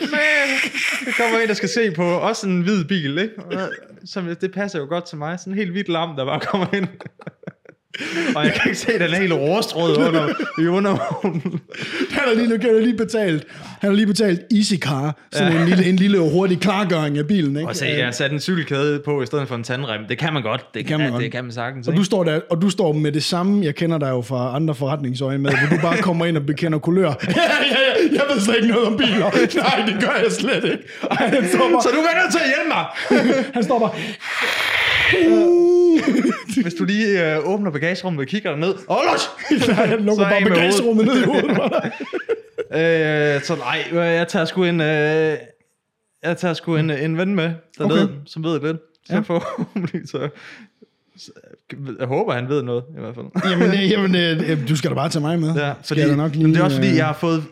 A: mæh. Der kommer en, der skal se på også en hvid bil, ikke? Og Som, det passer jo godt til mig. Sådan en helt hvidt lam, der bare kommer ind. Og jeg kan ikke se, at den er helt råstrød under, i undervognen.
B: Han har lige, nu kan jeg lige betalt. Han har lige betalt Easy Car. Sådan ja. en, lille, en lille hurtig klargøring af bilen, ikke?
A: Og se, jeg har sat en cykelkæde på i stedet for en tandrem. Det kan man godt. Det, det
B: kan man godt.
A: Det kan man sagtens.
B: Og
A: ikke?
B: du, står der, og du står med det samme, jeg kender dig jo fra andre forretningsøje med, hvor du bare kommer ind og bekender kulør. ja, ja, ja, jeg ved slet ikke noget om biler. Nej, det gør jeg slet ikke. Og han står
A: Så
B: bare...
A: du er nødt til at hjælpe mig.
B: Han står bare...
A: Hvis du lige øh, åbner bagagerummet og kigger ned. Olof!
B: Nej, han
A: Så
B: lukker
A: er
B: bare
A: I med
B: bagagerummet ned i hovedet. på dig.
A: øh, så nej, øh, jeg tager sgu en... Øh, jeg tager sgu en, øh, en ven med dernede, okay.
B: Okay.
A: som ved lidt. Så ja. forhåbentlig så... så- Jeg håber, han ved noget, i hvert fald.
B: Jamen, øh, jamen øh, øh, du skal da bare tage mig med.
A: Ja,
B: Skal
A: fordi,
B: jeg da nok lige,
A: det er også fordi,
B: øh,
A: jeg har fået...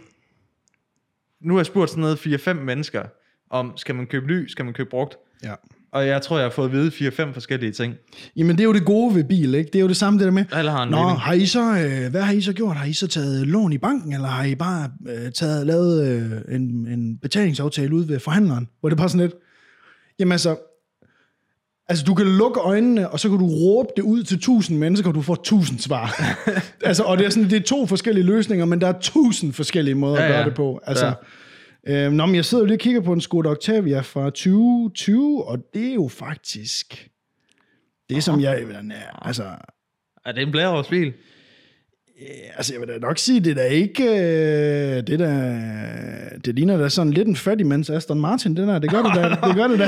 A: Nu har jeg spurgt sådan noget 4-5 mennesker, om skal man købe ny, skal man købe brugt?
B: Ja.
A: Og jeg tror, jeg har fået at vide 4-5 forskellige ting.
B: Jamen, det er jo det gode ved bil, ikke? Det er jo det samme, det der med...
A: Alle har en
B: Nå,
A: mening.
B: har I så, øh, hvad har I så gjort? Har I så taget lån i banken, eller har I bare øh, taget, lavet øh, en, en betalingsaftale ud ved forhandleren? Hvor det er bare sådan lidt... Jamen altså, altså, du kan lukke øjnene, og så kan du råbe det ud til tusind mennesker, og du får tusind svar. altså, og det er, sådan, det er to forskellige løsninger, men der er tusind forskellige måder ja,
A: Ja,
B: at gøre
A: ja.
B: det på. Altså, ja. øh, nå, men jeg sidder jo lige og kigger på en Skoda Octavia fra 2020, og det er jo faktisk... Det, som jeg... Altså,
A: Er det en blæreårsbil?
B: Ja, altså, jeg vil da nok sige, det er da ikke... Øh, det, der, det ligner da sådan lidt en fattig mands Aston Martin, det der. Det gør det da. det gør det da.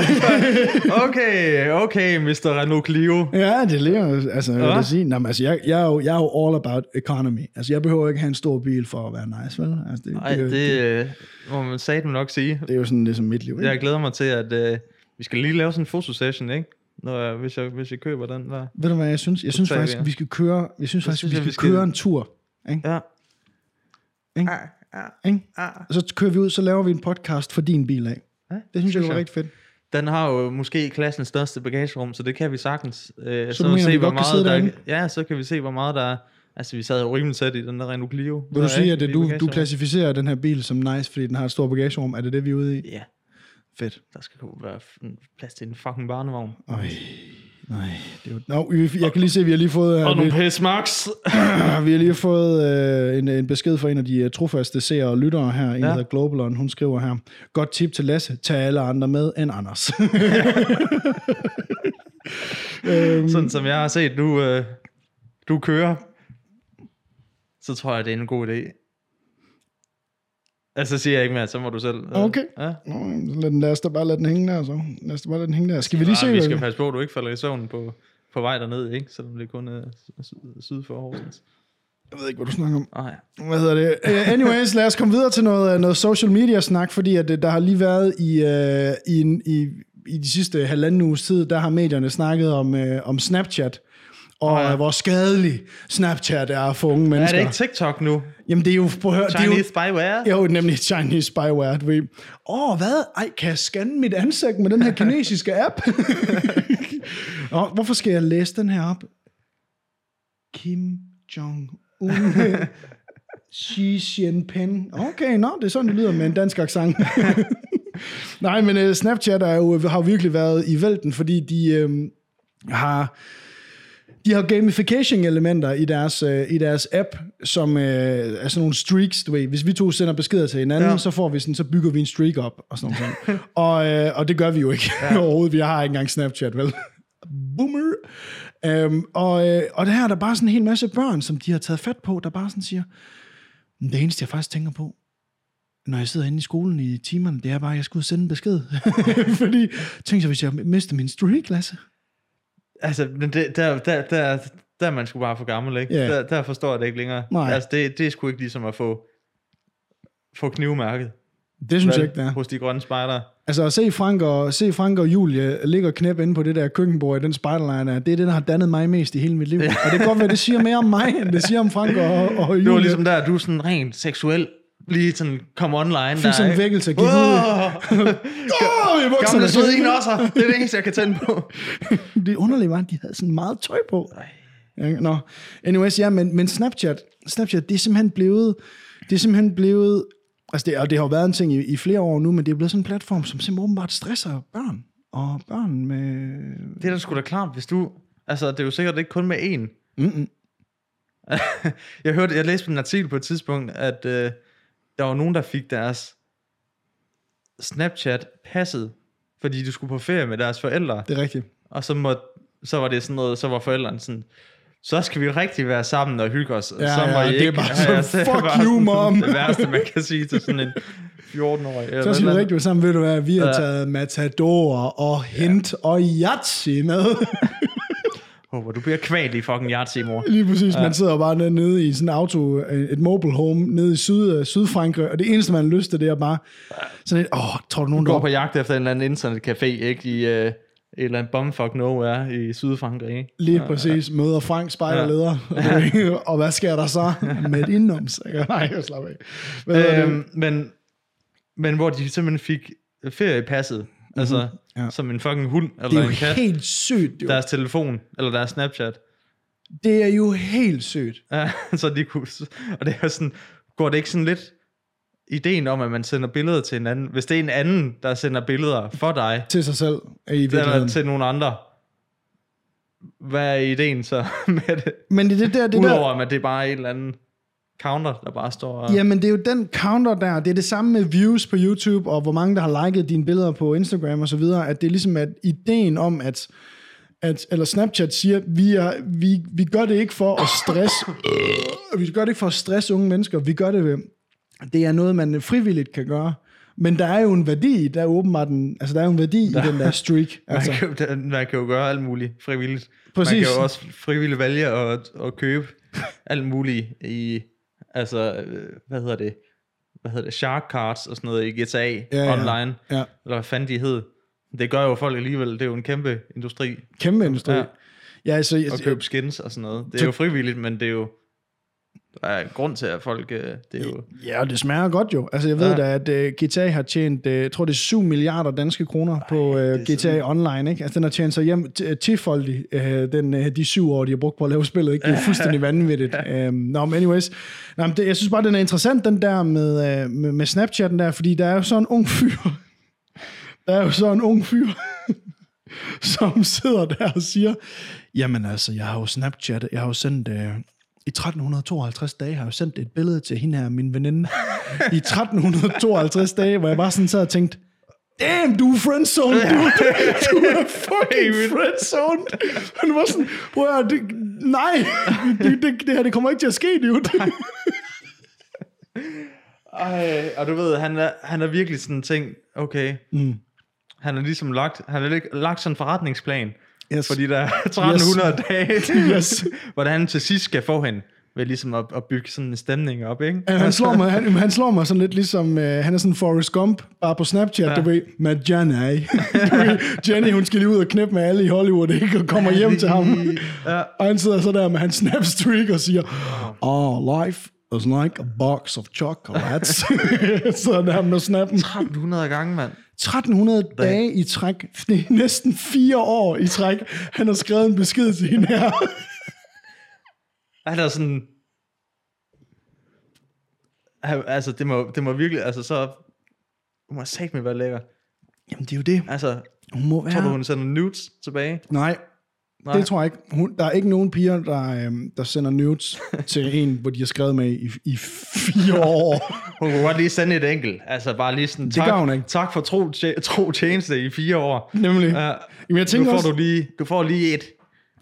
A: Okay, okay, Mr. Renault Clio.
B: ja, det ligner... Altså, jeg vil da
A: Ja.
B: sige... Nå, men, altså, jeg, jeg, er jo, jeg er jo all about economy. Altså, jeg behøver ikke have en stor bil for at være nice, vel? Altså, det,
A: Ej,
B: det,
A: det
B: det,
A: øh,
B: Mm.
A: må man satme nok sige.
B: det, er jo sådan lidt som mit liv. Ikke?
A: Jeg glæder mig til, at øh, vi skal lige lave sådan en fotosession, ikke? Når jeg, hvis, jeg, hvis jeg køber den der.
B: Ved du hvad, jeg synes? Jeg synes
A: tager vi
B: faktisk,
A: den.
B: vi skal køre... Jeg synes faktisk,
A: synes
B: vi
A: jeg,
B: skal,
A: vi skal-
B: køre en tur. Ikke?
A: Ja.
B: Ikke? Ikke? Og så kører vi ud, så laver vi en podcast for din bil af.
A: Ja,
B: Det synes jeg
A: synes
B: var
A: jeg.
B: rigtig fedt.
A: Den har jo måske klassens største bagagerum, så det kan vi sagtens. Øh,
B: du mener, vi godt kan sidde
A: der,
B: derinde?
A: Ja, så kan vi se, hvor meget der er. Altså, vi sad jo rimelig tæt i den der Renault Clio.
B: Vil
A: Der
B: du
A: er
B: sige,
A: ikke
B: at det,
A: i
B: du, du
A: bagagerummet.
B: klassificerer den her bil som nice, fordi den har et stort bagagerum? Er det det, vi er ude i?
A: Ja,
B: Fedt.
A: der skal kunne være f- plads til en fucking barnevogn.
B: Øj. Nej, det er jo... Nå, vi- jeg kan lige se, at vi har lige fået,
A: Og
B: øh, vi,
A: nogle pisse max.
B: vi har lige fået øh, en, en besked fra en af de øh, trofaste seere og lyttere her. En, ja.
A: Ja.
B: der hedder Globalon, hun skriver her. Godt tip til Lasse. Tag alle andre med end Anders. Mm.
A: Sådan som jeg har set, du, øh, du kører, så tror jeg, det er en god idé. Altså siger jeg ikke mere, så må du selv. øh,
B: Okay.
A: Ja.
B: Nå, jamen, lad, den, lad os da bare lade den hænge der, så. Lad os da bare lade den hænge der. Skal vi lige se?
A: Ej, vi
B: hvad
A: skal passe på, at du ikke falder i søvn på, på vej derned, ikke? Selvom det kun er syd- syd for Horsens.
B: Jeg ved ikke, hvad du snakker om.
A: Nej.
B: Hvad hedder det? Uh, anyways, lad os komme videre til noget, øh, noget social media-snak, fordi at, øh, der har lige været i, uh, i, en- i, i de sidste halvanden uges tid, der har medierne snakket om, uh, om øh, Snapchat, og ja. hvor skadelig Snapchat er for unge
A: Er
B: mennesker.
A: det ikke TikTok nu?
B: Jamen, det er jo... Prøv at høre, det er jo,
A: Chinese spyware?
B: jo, nemlig Chinese spyware, du ved. Åh, oh, hvad? Ej, kan jeg scanne mit ansigt med den her kinesiske app? Nå, hvorfor skal jeg læse den her op? Kim Jong-un. Xi Jinping. Okay, nå, det er sådan, det lyder med en dansk accent. Nej, men øh, Snapchat er jo, har jo virkelig været i vælten, fordi de øh, har... De har gamification-elementer i deres, øh, i deres app, som øh, er sådan nogle streaks, du ved. Hvis vi to sender beskeder til hinanden,
A: Ja.
B: ja. så, får vi sådan, så bygger vi en streak op og sådan noget. og, øh, og det gør vi jo ikke ja. overhovedet. Vi har ikke engang Snapchat, vel? Boomer! Øhm, og, øh, og det her er der bare sådan en hel masse børn, som de har taget fat på, der bare sådan siger, "Men det eneste, jeg faktisk tænker på, når jeg sidder inde i skolen i timerne, det er bare, at jeg skulle sende en besked. Fordi, tænk så, hvis jeg mister min streak-klasse.
A: Altså, men det, der, der, der, der er man sgu bare for gammel, ikke?
B: Ja.
A: Der, der forstår jeg det ikke længere.
B: Nej.
A: Altså, det, det er sgu ikke ligesom at få, få knivmærket.
B: Det synes
A: vel,
B: jeg ikke, det er.
A: Hos de grønne spejdere.
B: Altså at se Frank og, se Frank og Julie ligge og knæppe inde på det der køkkenbord i den spiderline, er- det er det, der har dannet mig mest i hele mit liv. Og det kan godt være, det siger mere om mig, end det siger om Frank og, og Julie.
A: Det var ligesom der, du er sådan rent seksuel, lige sådan kom online.
B: Fik sådan en vækkelse, gik ud.
A: ud.
B: Åh, i
A: Gamle
B: bukserne!
A: svedige nosser. Det er det eneste, jeg kan tænde på.
B: det underlige var, at de havde sådan meget tøj på. Ja, Nå, anyways, ja, men, men Snapchat, Snapchat, det er simpelthen blevet, det er simpelthen blevet, altså det, og det har jo været en ting i, i flere år nu, men det er blevet sådan en platform, som simpelthen åbenbart stresser børn, og børn med,
A: Det er da sgu da klart, hvis du... Altså, det er jo sikkert ikke kun med én.
B: Mm-mm.
A: jeg hørte, jeg læste en artikel på et tidspunkt, at øh, der var nogen, der fik deres Snapchat passet, fordi de skulle på ferie med deres forældre.
B: det er rigtigt.
A: Og så, må, så var det sådan noget, så var forældrene sådan, så skal vi rigtig være sammen og hygge os.
B: Ja,
A: så må I
B: ja, det er
A: ikke-
B: bare sådan,
A: så er det
B: "Fuck
A: bare
B: you, mom."
A: Det værste, man kan sige til sådan en 14-årig. eller
B: Så skal
A: et
B: vi
A: eller
B: rigtig være sammen, ved du hvad, vi har
A: Ja.
B: taget Matador og Hint ja. og Yatzy med.
A: andet. Håber, du bliver kvalt i fucking Yahtzee, mor.
B: Lige præcis, ja. man sidder bare nede- nede i sådan en auto, et mobile home, nede i syd, Sydfrankrig, og det eneste, man har lyst til, det er bare sådan et, åh, tror du nogen,
A: går
B: der
A: på jagt efter en eller anden internetcafé, ikke? I øh, et eller andet bumfuck nowhere i Sydfrankrig, ikke?
B: Lige præcis. Møder Frank, spejderleder. Ja. og hvad sker der så med et indnoms? Nej, jeg slapper af. Hvad hedder det?
A: Øhm, men, men hvor de simpelthen fik feriepasset, mm-hmm. altså
B: Mhm, Ja.
A: ja. som en fucking hund
B: Det
A: eller
B: er jo
A: en kat.
B: helt sygt, jo.
A: Deres telefon eller deres Snapchat.
B: Det er jo helt sygt.
A: Ja, så de kunne, og det er jo sådan, går det ikke sådan lidt ideen om, at man sender billeder til en anden? Hvis det er en anden, der sender billeder for dig,
B: Til sig selv i
A: eller
B: virkeligheden.
A: til nogen andre, hvad er ideen så med det?
B: Men det, er det der, det der,
A: Udover at det er bare en eller anden counter, der bare står og...
B: Jamen, det er jo den counter der. Det er det samme med views på YouTube, og hvor mange, der har liket dine billeder på Instagram og så videre, at det er ligesom, at ideen om, at, at eller Snapchat siger, vi, er, vi, vi gør det ikke for at stress, vi gør det ikke for at stress unge mennesker, vi gør det ved, det er noget, man frivilligt kan gøre. Men der er jo en værdi, der er åbenbart en, altså der er jo en værdi i den der streak. Altså,
A: Man kan, jo- man kan jo gøre alt muligt frivilligt. Man
B: Præcis.
A: kan jo også frivilligt vælge at, at købe alt muligt i, altså, øh, hvad hedder det, hvad hedder det, shark cards og sådan noget i GTA ja,
B: ja.
A: online,
B: ja,
A: eller hvad fanden de hed. Det gør jo folk alligevel, det er jo en kæmpe industri
B: kæmpe industri. Ja.
A: Ja.
B: Ja, altså,
A: at købe skins og sådan noget. Det er jo frivilligt, men det er jo, der er en grund til, at folk, øh, det er jo,
B: Ja, og det smager godt jo. Altså, jeg ved
A: Ja.
B: da, at uh, GTA har tjent, uh, jeg tror det er 7 milliarder danske kroner Ej, på uh, GTA Online, ikke? Altså, den har tjent sig hjem t- øh, tifoldigt, uh, den, uh, de syv år, de har brugt på at lave spillet, ikke? Det er fuldstændig vanvittigt. Um, Nå, men anyways. Nå, men det, jeg synes bare, den er interessant, den der med, uh, med, med Snapchatten der, fordi der er jo sådan en ung fyr, der er jo så en ung fyr, som sidder der og siger, jamen altså, jeg har jo Snapchat, jeg har jo sendt, øh, i 1352 dage har jeg jo sendt et billede til hende her, min veninde, i 1352 dage, hvor jeg bare sådan sad og tænkte, damn, du er friendzone, du, du er fucking friendzone. Han var sådan, prøv at høre, det, nej, det, det, det, her, det kommer ikke til at ske, dude.
A: Ej, og du ved, han er, han er virkelig sådan tænkt, okay, mm. han er ligesom lagt, han er lig- lagt sådan en forretningsplan,
B: Yes.
A: fordi der er 1300 yes. dage,
B: Yes.
A: hvordan han til sidst skal få hende. ved ligesom at, at bygge sådan en stemning op, ikke?
B: Han slår mig, han, han slår mig sådan lidt ligesom, øh, han er sådan Forrest Gump, bare på Snapchat, ja. du ved, med Jenny. Du ved, Jenny, hun skal lige ud og knæppe med alle i Hollywood, ikke? Og kommer hjem til ham.
A: Ja.
B: Og han sidder så der med hans snapstreak og siger, Oh, life is like a box of chocolates. så der med snappen.
A: 1300 gange, mand.
B: 1300 dage i træk. Det er næsten fire år i træk. Han har skrevet en besked til hende her.
A: Han er sådan... Han- Altså, det må, det må virkelig... Altså, så... Hun har sagt mig, være lækker.
B: Jamen, det er jo det.
A: Altså,
B: Hun må
A: tror
B: være.
A: du, hun sender nudes tilbage?
B: Nej, Nej, det tror jeg ikke. Hun, der er ikke nogen piger, der, øhm, der sender nudes til en, hvor de har skrevet med i, i fire år.
A: Hun kunne godt lige sende et enkelt. Altså, bare lige sådan... tak,
B: gør hun ikke.
A: Tak for tro, tje- tro tjeneste i fire år.
B: Nemlig.
A: Ja.
B: Jamen, jeg
A: Nu
B: tænker,
A: får
B: også,
A: du lige, du får lige et,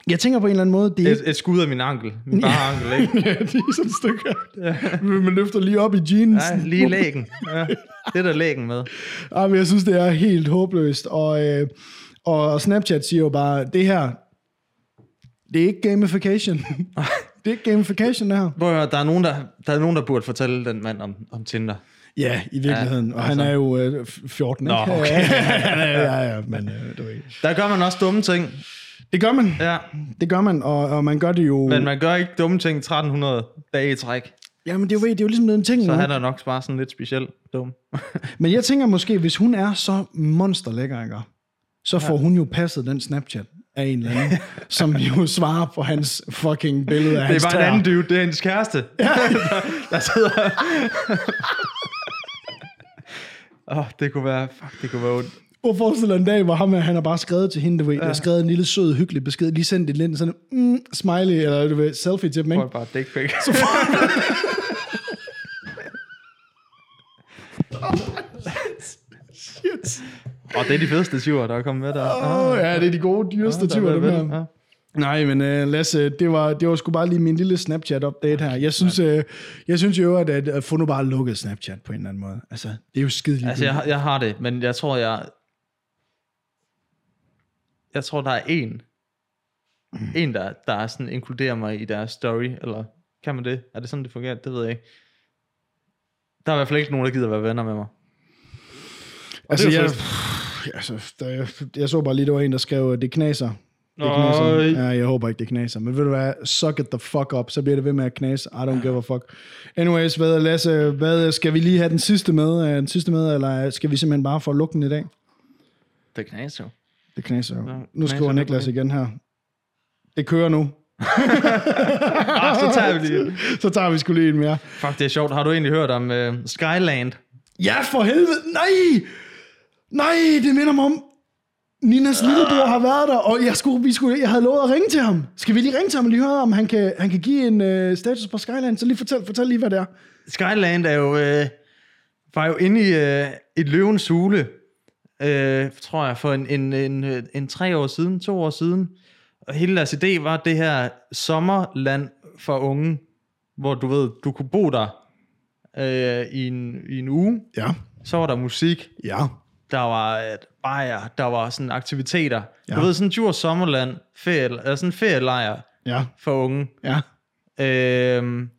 B: jeg tænker på en eller anden måde, det er
A: et, et skud af min ankel. Min bare ankel, ikke?
B: ja, det er sådan et stykke. Man løfter lige op i jeans.
A: Ja, lige lægen. Ja, det er der lægen med.
B: Ej, men jeg synes, det er helt håbløst. Og, øh, og Snapchat siger jo bare, det her, det er ikke gamification. det er ikke gamification, det her.
A: Prøv at høre, der er nogen, der, der, er nogen, der burde fortælle den mand om, om Tinder.
B: Ja, i virkeligheden. Ja, og han
A: altså.
B: er jo øh, 14, ikke?
A: Nå, okay.
B: ja, ja, ja, men øh, du ved.
A: Der gør man også dumme ting.
B: Det gør man.
A: Ja,
B: Det gør man, og, og man gør det jo...
A: men man gør ikke dumme ting 1300 dage i træk.
B: Jamen, det er jo, det er jo ligesom den ting.
A: Så
B: nu.
A: han er nok bare sådan lidt speciel dum.
B: Men jeg tænker måske, hvis hun er så monsterlækker, ikke? så får hun jo passet den Snapchat af en eller anden, som jo svarer på hans fucking billede af
A: Det
B: hans
A: er bare en
B: tæer.
A: anden dude, det er hendes kæreste. Ja. der, der sidder... Åh, oh, det kunne være... Fuck, det kunne være ondt.
B: Prøv at forestille dig en dag, hvor ham, her, han har bare skrevet til hende, du ved, ja. skrevet en lille sød, hyggelig besked, lige sendt et lille sådan mm, smiley, eller du ved, selfie til dem, ikke?
A: Prøv bare dick pic.
B: Shit.
A: Og det er de fedeste tyver, der er kommet med der.
B: Åh, oh, ja, det er de gode, dyreste typer, dem her.
A: Ja.
B: Nej, men uh, Lasse, det var, det var sgu bare lige min lille Snapchat-update her. Jeg synes, uh, jeg synes jo, at, at at få nu bare lukket Snapchat på en eller anden måde. Altså, det er jo skideligt.
A: Altså, jeg, har- jeg har det, men jeg tror, jeg... Jeg tror, der er en. En, der, der er sådan, inkluderer mig i deres story, eller kan man det? Er det sådan, det fungerer? Det ved jeg ikke. Der er i hvert fald ikke nogen, der gider være venner med mig.
B: altså,
A: det er
B: jeg,
A: jo
B: pff, altså der, jeg så bare lige, der var en, der skrev, at det knaser. Det knaser.
A: Nøj.
B: Ja, jeg håber ikke, det knaser. Men ved du hvad, suck it the fuck up, så bliver det ved med at knase. I don't give a fuck. Anyways, hvad, Lasse, hvad, skal vi lige have den sidste med, øh, den sidste med, eller skal vi simpelthen bare få lukket den i dag?
A: Det knas jo.
B: Det knaser jo.
A: Nå,
B: Nu
A: knaser,
B: skriver
A: det
B: Niklas igen her. Det kører nu.
A: Ah, så tager vi lige.
B: Så tager vi sgu lige en mere.
A: Fuck, det er sjovt. Har du egentlig hørt om uh, Skyland?
B: Ja, for helvede. Nej! Nej, det minder mig om... Ninas lillebror har været der, og jeg, skulle, vi skulle, jeg havde lovet at ringe til ham. Skal vi lige ringe til ham og lige høre, om han kan, han kan give en øh, status på Skyland? Så lige fortæl, fortæl lige, hvad det er.
A: Skyland er jo, øh, var jo inde i øh, et løvens hule, øh, tror jeg, for en, en, en, øh, en tre år siden, to år siden. Og hele deres idé var det her sommerland for unge, hvor du ved, du kunne bo der øh, i, en, i en uge.
B: Ja,
A: Så var der musik,
B: ja.
A: der var et bajer, der var sådan aktiviteter. Ja.
B: Ja.
A: Du ved, sådan en Djurs sommerland, ferie, eller sådan en ferielejr
B: Ja,
A: for unge.
B: ja.
A: Øhm,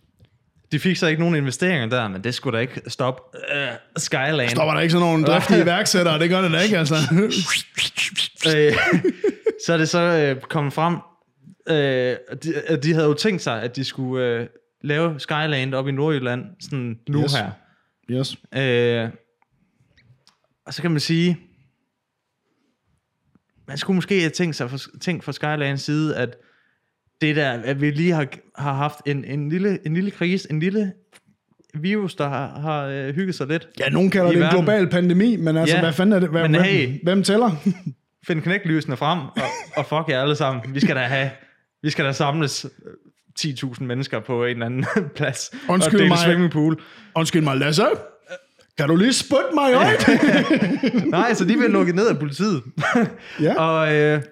A: de fik så ikke nogen investeringer der, men det skulle da ikke stoppe øh, Skyland.
B: Der var der ikke sådan nogle driftige iværksættere, det gør det da ikke, altså.
A: Øh, så er det så øh, kommet frem, øh, at de, at de havde jo tænkt sig, at de skulle øh, lave Skyland op i Nordjylland, sådan nu
B: Yes.
A: yes. her.
B: Yes.
A: Øh, og så kan man sige, man skulle måske have tænkt, sig for, tænkt fra Skylands side, at det der, at vi lige har, har haft en, en, lille, en lille krise, en lille virus, der har, har øh, hygget sig lidt.
B: Ja, nogen kalder
A: I
B: det en
A: verden.
B: global pandemi, men altså,
A: Ja,
B: hvad fanden er det? Hvad,
A: men
B: hvem,
A: hey.
B: hvem tæller?
A: Find knæklysene frem, og, og fuck jer alle sammen. Vi skal da have, vi skal da samles øh, 10.000 mennesker på en eller anden plads.
B: Undskyld
A: og dele
B: mig.
A: swimmingpool.
B: Undskyld mig, Lasse. Kan du lige spytte mig i øjet?
A: Nej, så de bliver lukket ned af politiet.
B: Ja.
A: og, øh,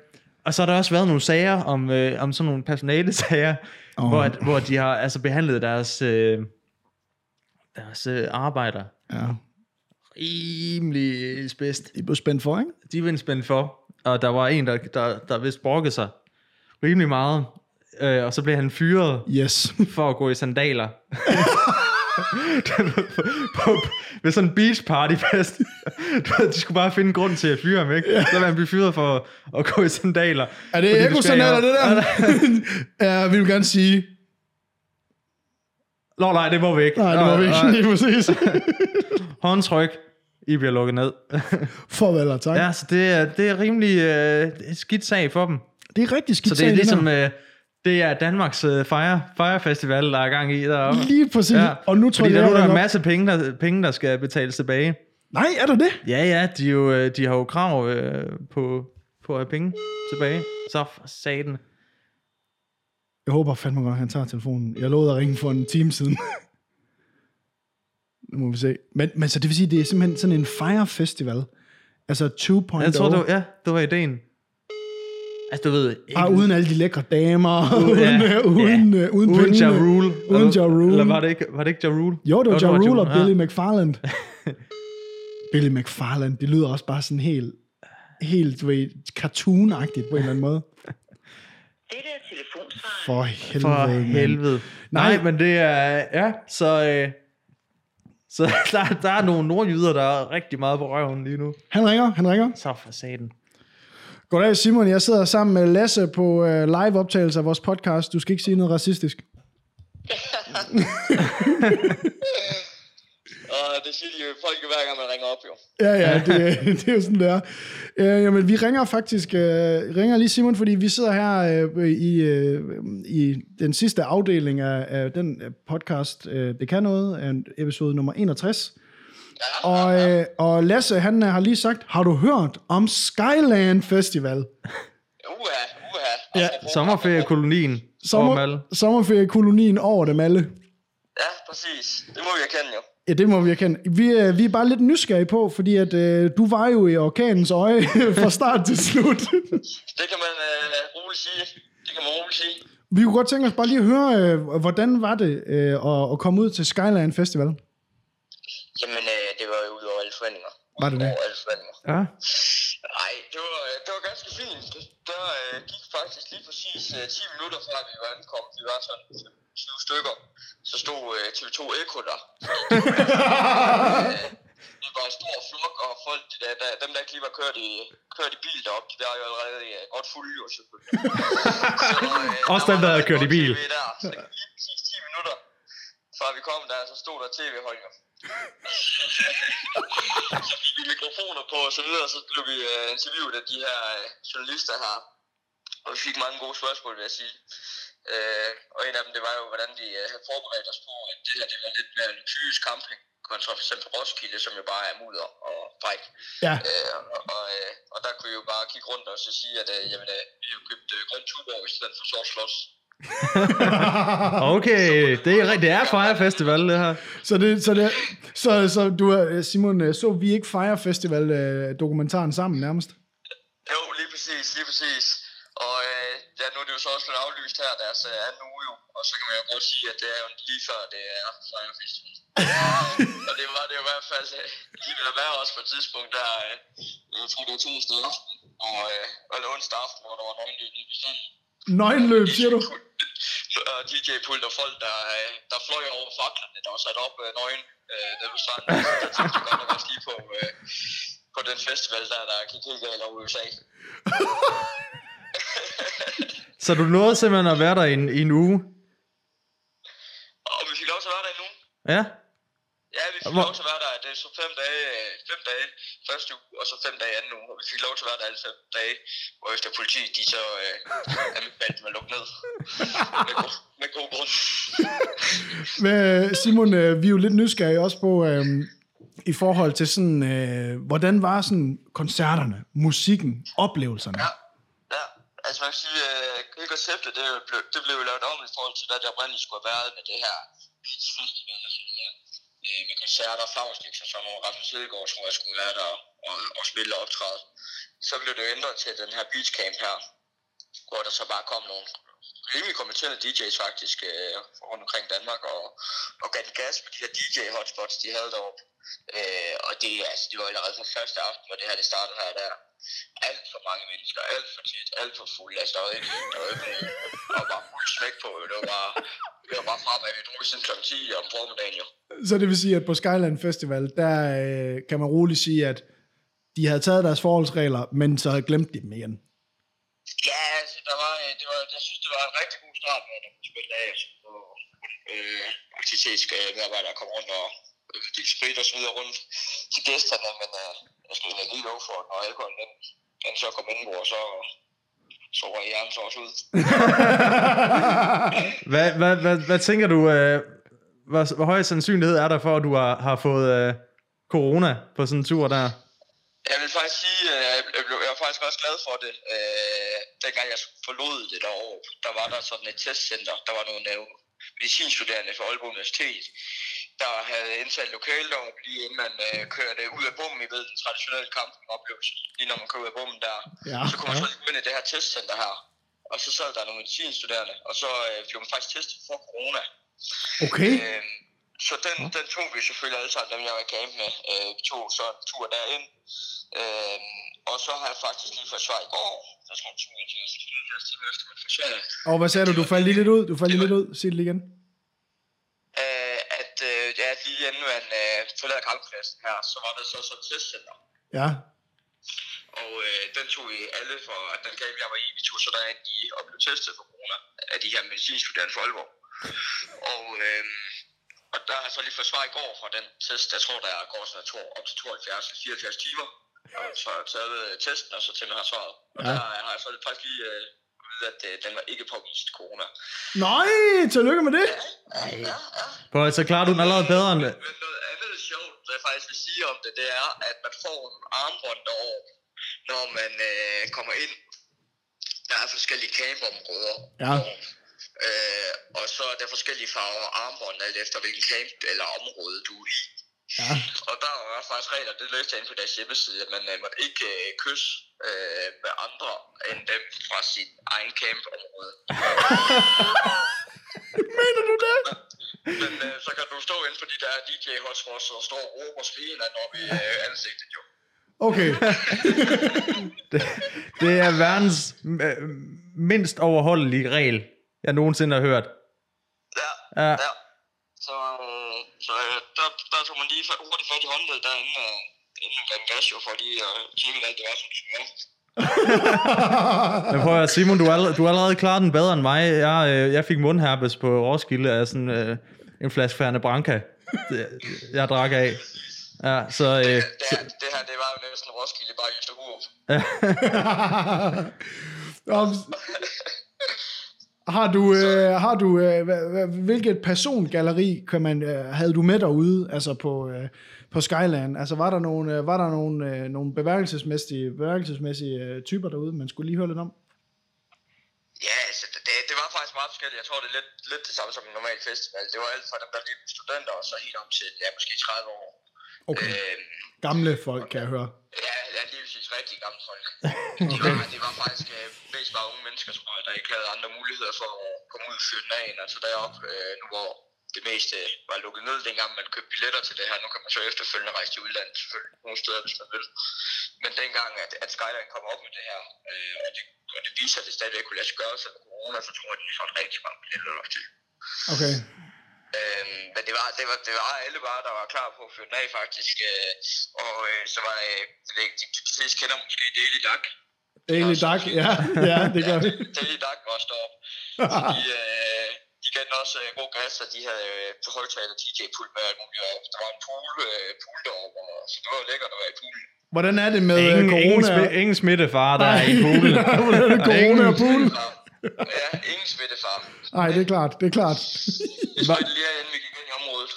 A: og så har der også været nogle sager om, øh, om sådan nogle personalesager,
B: Åh.
A: oh. hvor, at, hvor de har altså behandlet deres, øh, deres øh, arbejder
B: Ja,
A: rimelig spidst.
B: I blev spændt for, ikke?
A: De blev spændt for, og der var en, der, der, der vist brokkede sig rimelig meget øh, og så blev han fyret
B: Yes.
A: for at gå i sandaler. på, på, ved sådan en beach party fest. Du ved, De skulle bare finde en grund til at fyre ham, ikke? Så ville han blive fyret for at gå i sandaler.
B: Er det ekosandaler, det der? ja, vi vil gerne sige...
A: Nå, nej, det må vi ikke.
B: Nej, det var vi
A: Nå,
B: ikke lige præcis.
A: nå, Håndtryk. I bliver lukket ned.
B: Farvel og tak. Ja.
A: ja, så det er, det er rimelig øh, det er skidt sag for dem.
B: Det er rigtig skidt
A: Så det er
B: sagen,
A: ligesom,
B: her.
A: øh, det er Danmarks øh, fire, fire Festival, der er gang i deroppe.
B: Lige præcis. Ja. Og nu tror
A: Fordi
B: jeg,
A: der, nu er der
B: nok-
A: en masse penge der, penge, der skal betales tilbage.
B: Nej, er der det?
A: Ja, ja, de, er jo, øh, de har jo krav øh, på, på at have penge tilbage. Så for satan.
B: Jeg håber fandme godt, at han tager telefonen. Jeg lovede at ringe for en time siden. nu må vi se. Men, men så det vil sige, det er simpelthen sådan en fire festival. Altså 2.0.
A: Jeg tror, det var, ja, det var ideen. Altså, du ved... Ikke,
B: Ah, uden alle de lækre damer, uden,
A: ja,
B: ja, uden, ja. uden,
A: uden Ja
B: pengene.
A: Rule.
B: Uden
A: Eller-
B: Ja Rule.
A: Eller var det ikke, var det ikke Ja Rule?
B: Jo, det var
A: Jo,
B: Ja Rule og
A: ja.
B: Billy McFarland. Billy McFarland, det lyder også bare sådan helt, helt du ved, cartoon-agtigt på en eller anden måde.
C: Dette er telefonsvaren.
B: For helvede,
A: For
B: mand.
A: helvede. Nej,
B: Nej.
A: Nej, men det er... Ja, så... Øh, så der, der er nogle nordjyder, der er rigtig meget på røven lige nu.
B: Han ringer, han ringer.
A: Så for satan.
B: Goddag Simon, jeg sidder sammen med Lasse på øh, live optagelse af vores podcast. Du skal ikke sige noget racistisk.
C: Og det siger de jo folk jo hver gang, man ringer op, jo.
B: Ja, ja, det, det er jo sådan, det er. Øh, jamen, vi ringer faktisk, øh, ringer lige Simon, fordi vi sidder her øh, i, øh, i den sidste afdeling af, af den øh, podcast, øh, Det kan noget, øh, episode nummer 61.
C: Ja,
B: Og, øh, og Lasse, han øh, har lige sagt, har du hørt om Skyland Festival?
C: uha, uha.
B: Ja,
C: Apropos-
A: Sommerferiekolonien. Sommer...
B: Sommer, sommerferiekolonien over dem alle.
C: Ja, præcis. Det må vi erkende, jo.
B: Ja, det må vi erkende. Vi, øh, vi er bare lidt nysgerrige på, fordi at, øh, du var jo i orkanens øje fra start til slut.
C: Det kan man øh, roligt sige. Det kan man roligt sige.
B: vi kunne godt tænke os bare lige at høre, øh, hvordan var det øh, at, at komme ud til Skyland Festival?
C: Jamen, øh, det var jo ud over alle forventninger.
B: Var det det?
C: Ud over alle forventninger.
A: Ja.
C: Nej, det var, øh, det var ganske fint. Det, der øh, gik faktisk lige præcis øh, 10 minutter fra, vi var ankommet. Vi var sådan 20 stykker. Så stod øh, TV2 Eko der. Øh, det var en stor flok, og folk, de der, der, dem, der ikke lige var kørt i, kørt i bil deroppe, de var jo allerede øh, godt fulde, jo selvfølgelig. Så, øh,
A: Også dem, der
C: var
A: havde kørt i
C: godt
A: bil.
C: TV Der. Så lige præcis 10 minutter, fra vi kom der, så stod der tv-hold, jo så fik vi mikrofoner på og så videre, og så blev vi øh, interviewet af de her øh, journalister her. Og vi fik mange gode spørgsmål, vil jeg sige. Øh, og en af dem, det var jo, hvordan de øh, havde forberedt os på, at det her det var lidt mere luksuriøs camping, kontra for eksempel Roskilde, som jo bare er mudder og bræk.
B: Ja,
C: Øh, og, og, øh, og der kunne vi jo bare kigge rundt og så sige, at øh, jamen, øh, vi har jo købt øh, grøn tuborg i stedet for sort slås.
A: Okay, det er, det er Fire Festival, det her.
B: så, det, så, det, så, så du, øh, Simon, øh, så vi ikke Fire Festival-dokumentaren sammen nærmest?
C: Jo, lige præcis, lige præcis. Og øh, ja, nu er det jo så også blevet aflyst her deres øh, anden uge, jo. og så kan man jo godt sige, at det er jo lige før det er Fire Festival. og det var det jo i hvert fald øh, lige ved at være også på et tidspunkt der, øh, jeg tror det var torsdag aften, og, øh, eller onsdag aften, hvor der var nogen, der lige bestanden.
B: Nøgenløb, siger du?
C: Og DJ-pult og folk, der, øh, der fløj over faklerne, der var sat op øh, nøgen, øh, der var sådan, der tænkte jeg godt nok også lige på, øh, på den festival, der, der gik helt galt over i USA.
A: Så du nåede simpelthen at være der i en, i en uge?
C: Og vi fik lov til at være der endnu.
A: Ja?
C: Ja, vi fik
A: Hvor-
C: lov til at være der. Det er så fem dage, øh, fem dage første uge, og så fem dage anden uge. Og vi fik lov til at være der alle fem dage, hvor efter politiet, de så øh, anbefalte mig at lukke ned. med, god, med god grund.
B: Men, øh, Simon, øh, vi er jo lidt nysgerrige også på, øh, i forhold til sådan, øh, hvordan var sådan koncerterne, musikken, oplevelserne?
C: Ja, ja. Altså man kan sige, øh, hele konceptet, det blev, det blev jo lavet om i forhold til, hvad det oprindeligt skulle have været med det her Beats Festival og sådan noget. Øh, med koncerter, flagstiks og sådan noget. Rasmus Hedegaard, tror jeg, skulle være der og, og spille og optræde. Så blev det jo ændret til den her Beach Camp her, hvor der så bare kom nogle rimelig kompetent DJ's faktisk øh, rundt omkring Danmark, og, og gav den gas på de her DJ-hotspots, de havde deroppe. Øh, og det, altså, det var allerede fra første aften, hvor det her det startede her der. Alt for mange mennesker, alt for tit, alt for fuld. Altså, der var ikke der var ikke nogen- der var bare fuld smæk på. jo. Det var bare, det var bare fremad. Vi drog siden kl. 10 om formiddagen jo.
B: Så det vil sige, at på Skyland Festival, der øh, kan man roligt sige, at de havde taget deres forholdsregler, men så havde glemt de dem igen.
C: Ja, altså, der var, øh, det var, jeg synes, det var en rigtig god start, når der blev spillet af, altså, og øh, aktivitetsmedarbejdere kom rundt og øh, gik sprit og så videre rundt til gæsterne, men øh, jeg skal da lige love for, at når alkoholen den, den så kom ind, hvor så, så var hjernen så også ud.
A: Hvad, hvad, hvad, hvad tænker du, øh, hvor, hvor høj sandsynlighed er der for, at du har, har fået øh, corona på sådan en tur der?
C: Jeg vil faktisk sige, øh, jeg, blev, jeg var faktisk også glad for det. Øh, dengang jeg forlod det derovre, der var der sådan et testcenter. Der var nogle øh, medicinstuderende fra Aalborg Universitet, der havde indsat lokalelov, lige inden man øh, kørte ud af bommen. I ved, den traditionelle kamp oplevelse. Lige når man kører ud af bommen der,
B: Ja,
C: så kunne man så lige gå ind i det her testcenter her. Og så sad der nogle medicinstuderende, og så øh, blev man faktisk testet for corona.
B: okay.
C: Øh, så den, den tog vi selvfølgelig alle sammen, dem jeg var i camp med. Øh, vi tog så en tur derind. Øh, og så har jeg faktisk lige fået svar i går. Der skal en tur til os. efter min ferie.
B: Og hvad sagde du? Du faldt lige lidt ud. Du faldt lige lidt ud. Sig det lige igen.
C: Øh, at øh, ja, lige inden man øh, forlader kamppladsen her, så var der så så et testcenter.
B: Ja.
C: Og øh, den tog vi alle for, at den camp jeg var i, vi tog så derind i og blev testet for corona af de her medicinstuderende fra Aalborg. Og, øh, og der har jeg så lige fået svar i går fra den test, jeg tror der går sådan to, op til 72 eller 74 timer. Og så har jeg taget øh, testen, og så til man har svaret. Og
B: Ja.
C: ja. der har jeg så faktisk lige øh, at vide, at øh, den var ikke påvist corona.
B: Nej, tillykke med det.
C: Ja, ja.
A: På, så klarer du den allerede bedre end...
C: Men noget andet sjovt, der jeg faktisk vil sige om det, det er, at man får en armbånd over, når man øh, kommer ind. Der er forskellige campområder.
B: Ja.
C: Øh, og så er der forskellige farver armbånd, alt efter hvilken camp eller område du er i.
B: Ja.
C: Og der er faktisk regler, det løste jeg inde på deres hjemmeside, at man øh, måtte ikke øh, kysse øh, med andre end dem fra sit egen campområde.
B: Mener du det?
C: Men øh, så kan du stå inden for de der DJ-hotspots og stå og råbe og skrige hinanden op i øh, ansigtet jo.
B: Okay.
A: Det, det er verdens øh, mindst overholdelige regel, jeg nogensinde har hørt.
C: Ja,
A: Ja.
C: ja. Så, øh, så øh, der, der tog man lige fa- hurtigt fat i håndledet derinde, øh, inden man gav den gas jo, for lige at tjekke, at alt det var, som det skulle være.
A: Men prøv at høre, Simon, du har allerede, du har allerede klaret den bedre end mig. Jeg, øh, jeg fik mundherpes på Roskilde af sådan øh, en flaske Ferne Branca, det- jeg drak af. Ja, så... Øh,
C: Det, her, det her, det var jo næsten Roskilde bare i Østerhurup.
B: Om, har du, øh, har du øh, hva- hva- hvilket persongalleri kan man, øh, havde du med derude altså på, øh, på Skyland? Altså var der nogle, øh, var der nogle, øh, nogle bevægelsesmæssige, bevægelsesmæssige øh, typer derude, man skulle lige høre lidt om?
C: Ja, altså, det, det- det var faktisk meget forskelligt. Jeg tror, det er lidt, lidt det samme som en normal festival. Det var alt fra dem, der lige blev studenter, og så helt om til, ja, måske 30 år.
B: Okay,
C: Øhm,
B: gamle folk kan jeg høre.
C: Ja, ja, lige præcis rigtig gamle folk. De var, de var faktisk øh, mest bare unge mennesker, tror jeg, der ikke havde andre muligheder for at komme ud og fyre den af. Altså deroppe, øh, nu hvor det meste øh, var lukket ned, dengang man købte billetter til det her. Nu kan man så efterfølgende rejse til udlandet, selvfølgelig, nogle steder, hvis man vil. Men dengang, at, at Skyline kom op med det her, øh, og, det, og det viser, at det stadigvæk kunne lade sig gøre, så corona, så tror jeg, at de solgte rigtig mange billetter op til.
B: Okay,
C: Øhm, men det var, det, var, det var alle bare, der var klar på at fyre den af, faktisk. Øh, og øh, så var øh, det, ved jeg ikke, de, de fleste kender måske Daily Duck.
B: Daily Duck, ja, ja det gør vi. Ah.
C: Daily Duck var også deroppe. Så de, øh, de gav den også øh, god gas, og de havde øh, på højtaler DJ-pult med alt muligt. Og der var en pool, øh, pool deroppe, og, så det var lækkert at være i poolen.
B: Hvordan er det med øh,
A: ingen, ingen,
B: corona?
A: smi, ingen smittefare, der er i poolen.
B: Hvordan er det corona og pool?
C: Så, ja, ingen smittefar.
B: Nej, det er klart, det er klart.
C: Vi spredte lige herinde, vi gik ind i området.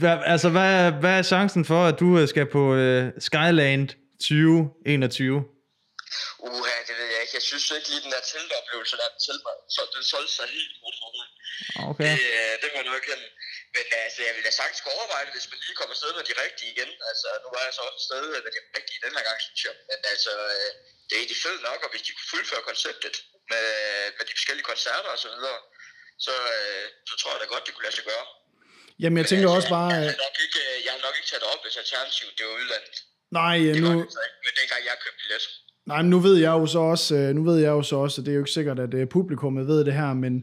A: Hva, altså, hvad, hvad er chancen for, at du øh, skal på øh, Skyland 2021?
C: Uha, det ved jeg ikke. Jeg synes ikke lige, den der teltoplevelse, der den, telt, den solgte sig helt godt for mig.
A: Okay.
C: Det, øh, det må jeg nok erkende. Men altså, jeg vil da sagtens kunne overveje det, hvis man lige kommer afsted med de rigtige igen. Altså, nu var jeg så også afsted med de rigtige den her gang, synes jeg. Men altså, øh, det er egentlig fedt nok, og hvis de kunne fuldføre konceptet med, øh, med de forskellige koncerter og så videre, så, øh, så tror jeg da godt, det kunne lade sig gøre.
B: Jamen, jeg tænker
C: altså,
B: også bare...
C: Jeg, jeg,
B: øh,
C: har nok ikke, øh, jeg har nok ikke taget det op, hvis alternativet det var udlandet.
B: Nej,
C: Det
B: øh,
C: var
B: nu,
C: det så ikke, men dengang jeg købte billet.
B: nej, men nu ved jeg jo så også, øh, nu ved jeg jo så også, og det er jo ikke sikkert, at øh, publikummet ved det her, men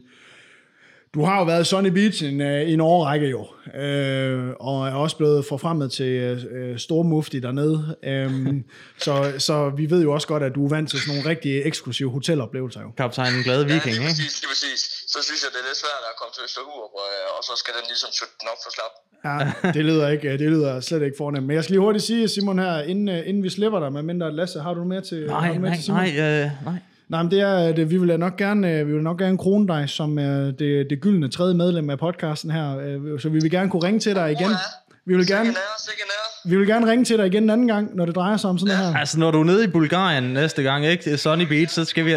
B: du har jo været i Sunny Beach en, øh, en årrække jo, øh, og er også blevet forfremmet til øh, øh, stormufti dernede, øh, så, så vi ved jo også godt, at du er vant til sådan nogle rigtig eksklusive hoteloplevelser jo.
A: Kaptajn den glade
C: ja,
A: viking,
C: lige
A: ikke?
C: præcis, lige præcis. Så synes jeg, det er lidt svært at komme til Østerhurup, og, og så skal den ligesom slutte den op for slap.
B: Ja, det lyder, ikke, øh, det lyder slet ikke fornemt. Men jeg skal lige hurtigt sige, Simon, her, inden, øh, inden vi slipper dig, med mindre Lasse, har du noget mere til, har
A: Nej,
B: du mere
A: nej,
B: til Simon?
A: nej, øh, nej.
B: Nej, men det er, at øh, vi vil da nok gerne, øh, vi vil nok gerne krone dig som øh, det, det gyldne tredje medlem af podcasten her, øh, så vi vil gerne kunne ringe til dig igen. Vi vil gerne,
C: Sikke nær, sikke nær.
B: vi vil gerne ringe til dig igen en anden gang, når det drejer sig om sådan noget her.
A: Altså, når du er nede i Bulgarien næste gang, ikke? Det er Sunny Beach, så skal vi...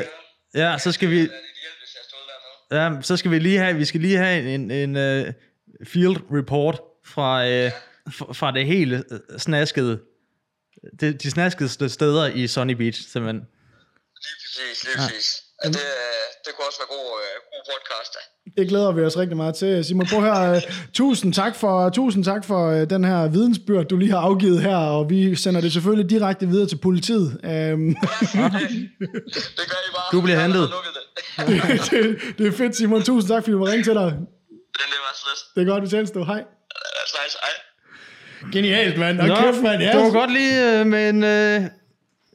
A: Ja, så skal vi...
C: Det er lidt hjælp, hvis jeg stod dernede.
A: Ja, så skal vi lige have... Vi skal lige have en, en uh, field report fra, uh, fra det hele øh, snaskede... Det, de snaskede steder i Sunny Beach, simpelthen.
C: Lige præcis, lige præcis. Ja. Det, øh, det kunne også være god, øh, god podcast, da.
B: Det glæder vi os rigtig meget til. Simon, prøv her. øh, Tusind tak for, tusind tak for øh, den her vidensbyrd, du lige har afgivet her, og vi sender det selvfølgelig direkte videre til politiet. Øhm,
C: Det- Det gør I bare.
A: Du bliver
C: Jeg har
A: hentet.
C: allerede lukket det.
B: det, det, det er fedt, Simon. Tusind tak, fordi du må ringe til dig.
C: Den det var slet.
B: Det er godt, vi tales du. Hej.
C: Altså, altså, ej.
B: Genialt, mand. Og kæft, mand. Ja.
A: det var godt lige øh, med en, øh,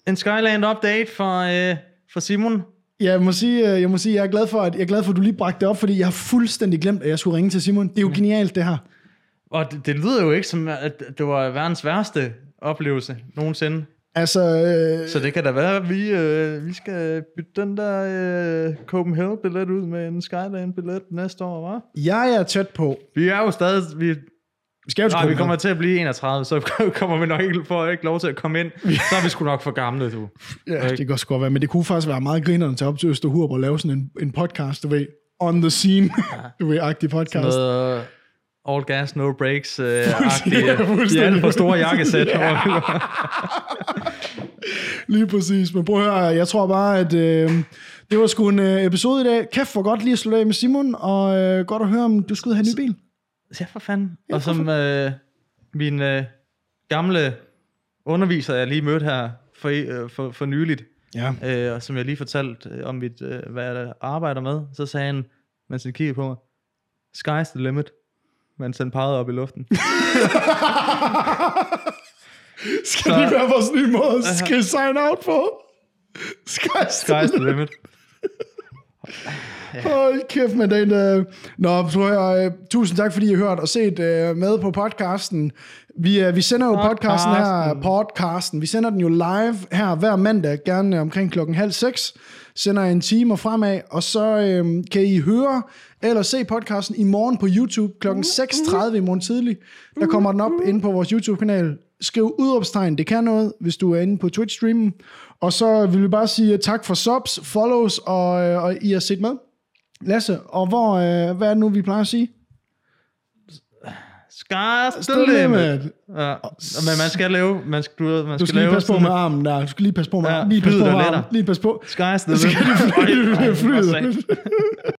A: en Skyland update fra, øh, fra Simon.
B: Ja, jeg må sige, øh, jeg må sige, jeg er glad for, at jeg er glad for, at du lige bragte det op, fordi jeg har fuldstændig glemt, at jeg skulle ringe til Simon. Det er jo genialt, det her.
A: Og det, det lyder jo ikke som, at det var verdens værste oplevelse nogensinde.
B: Altså, øh,
A: Så det kan da være, at vi, øh, vi skal bytte den der øh, Copenhagen-billet ud med en Skyland-billet næste år, hva'?
B: jeg er tæt på.
A: Vi er jo stadig... Vi,
B: Vi skal jo til
A: nej, vi
B: København.
A: kommer til at blive 31, så kommer vi nok ikke, får ikke lov til at komme ind. Så er vi sgu nok for gamle, du.
B: Ja, det kan også godt være, men det kunne faktisk være meget grinerende til op til Østerhurb og lave sådan en, en podcast, du ved, on the scene, du ved, agtig podcast.
A: Noget øh, all gas, no breaks øh, agtige,
B: Fuldstændig, ja,
A: De
B: fuldstændig.
A: alt for store jakkesæt. ja.
B: Lige præcis, men prøv at høre, jeg tror bare, at øh, det var sgu en øh, episode i dag. Kæft, hvor godt lige at slutte af med Simon, og øh, godt at høre, om du skulle have en ny bil.
A: Ja, for fanden. og som øh, min øh, gamle underviser, jeg lige mødte her for, øh, for, for nyligt,
B: Ja.
A: øh, og som jeg lige fortalte øh, om, mit, øh, hvad jeg arbejder med, så sagde han, mens han kiggede på mig, sky's the limit, mens han pegede op i luften.
B: Skal det være vores nye måde at skal sign out på? Skal,
A: Sky's the limit.
B: Hold kæft med den. Øh. Nå, prøv at høre, øh, tusind tak, fordi I har hørt og set øh, med på podcasten. Vi, øh, vi sender jo podcasten her,
A: Podcasten.
B: podcasten, vi sender den jo live her hver mandag, gerne øh, omkring klokken halv seks, sender en time og fremad, og så øh, kan I høre eller se podcasten i morgen på YouTube klokken 6.30 i morgen tidlig. Der kommer den op inde på vores YouTube-kanal. Skriv udråbstegn, det kan noget, hvis du er inde på Twitch-streamen. Og så vil vi bare sige øh, tak for subs, follows, og, øh, og I har set med. Lasse, og hvor, øh, hvad er det nu, vi plejer at sige?
A: Sky's the
B: Stille
A: limit.
B: med.
A: Ja. Men man skal lave, man skal, du, man skal,
B: Du skal lige
A: lave
B: passe på med armen der. Du skal lige passe på med
A: Ja,
B: armen. Lige passe
A: flyet er
B: på med armen.
A: lettere.
B: Lige passe på.
A: Sky's the
B: Så
A: limit.
B: kan de flyde,
A: Ej, ej,
B: flyde,
A: for
B: flyde.
A: satan.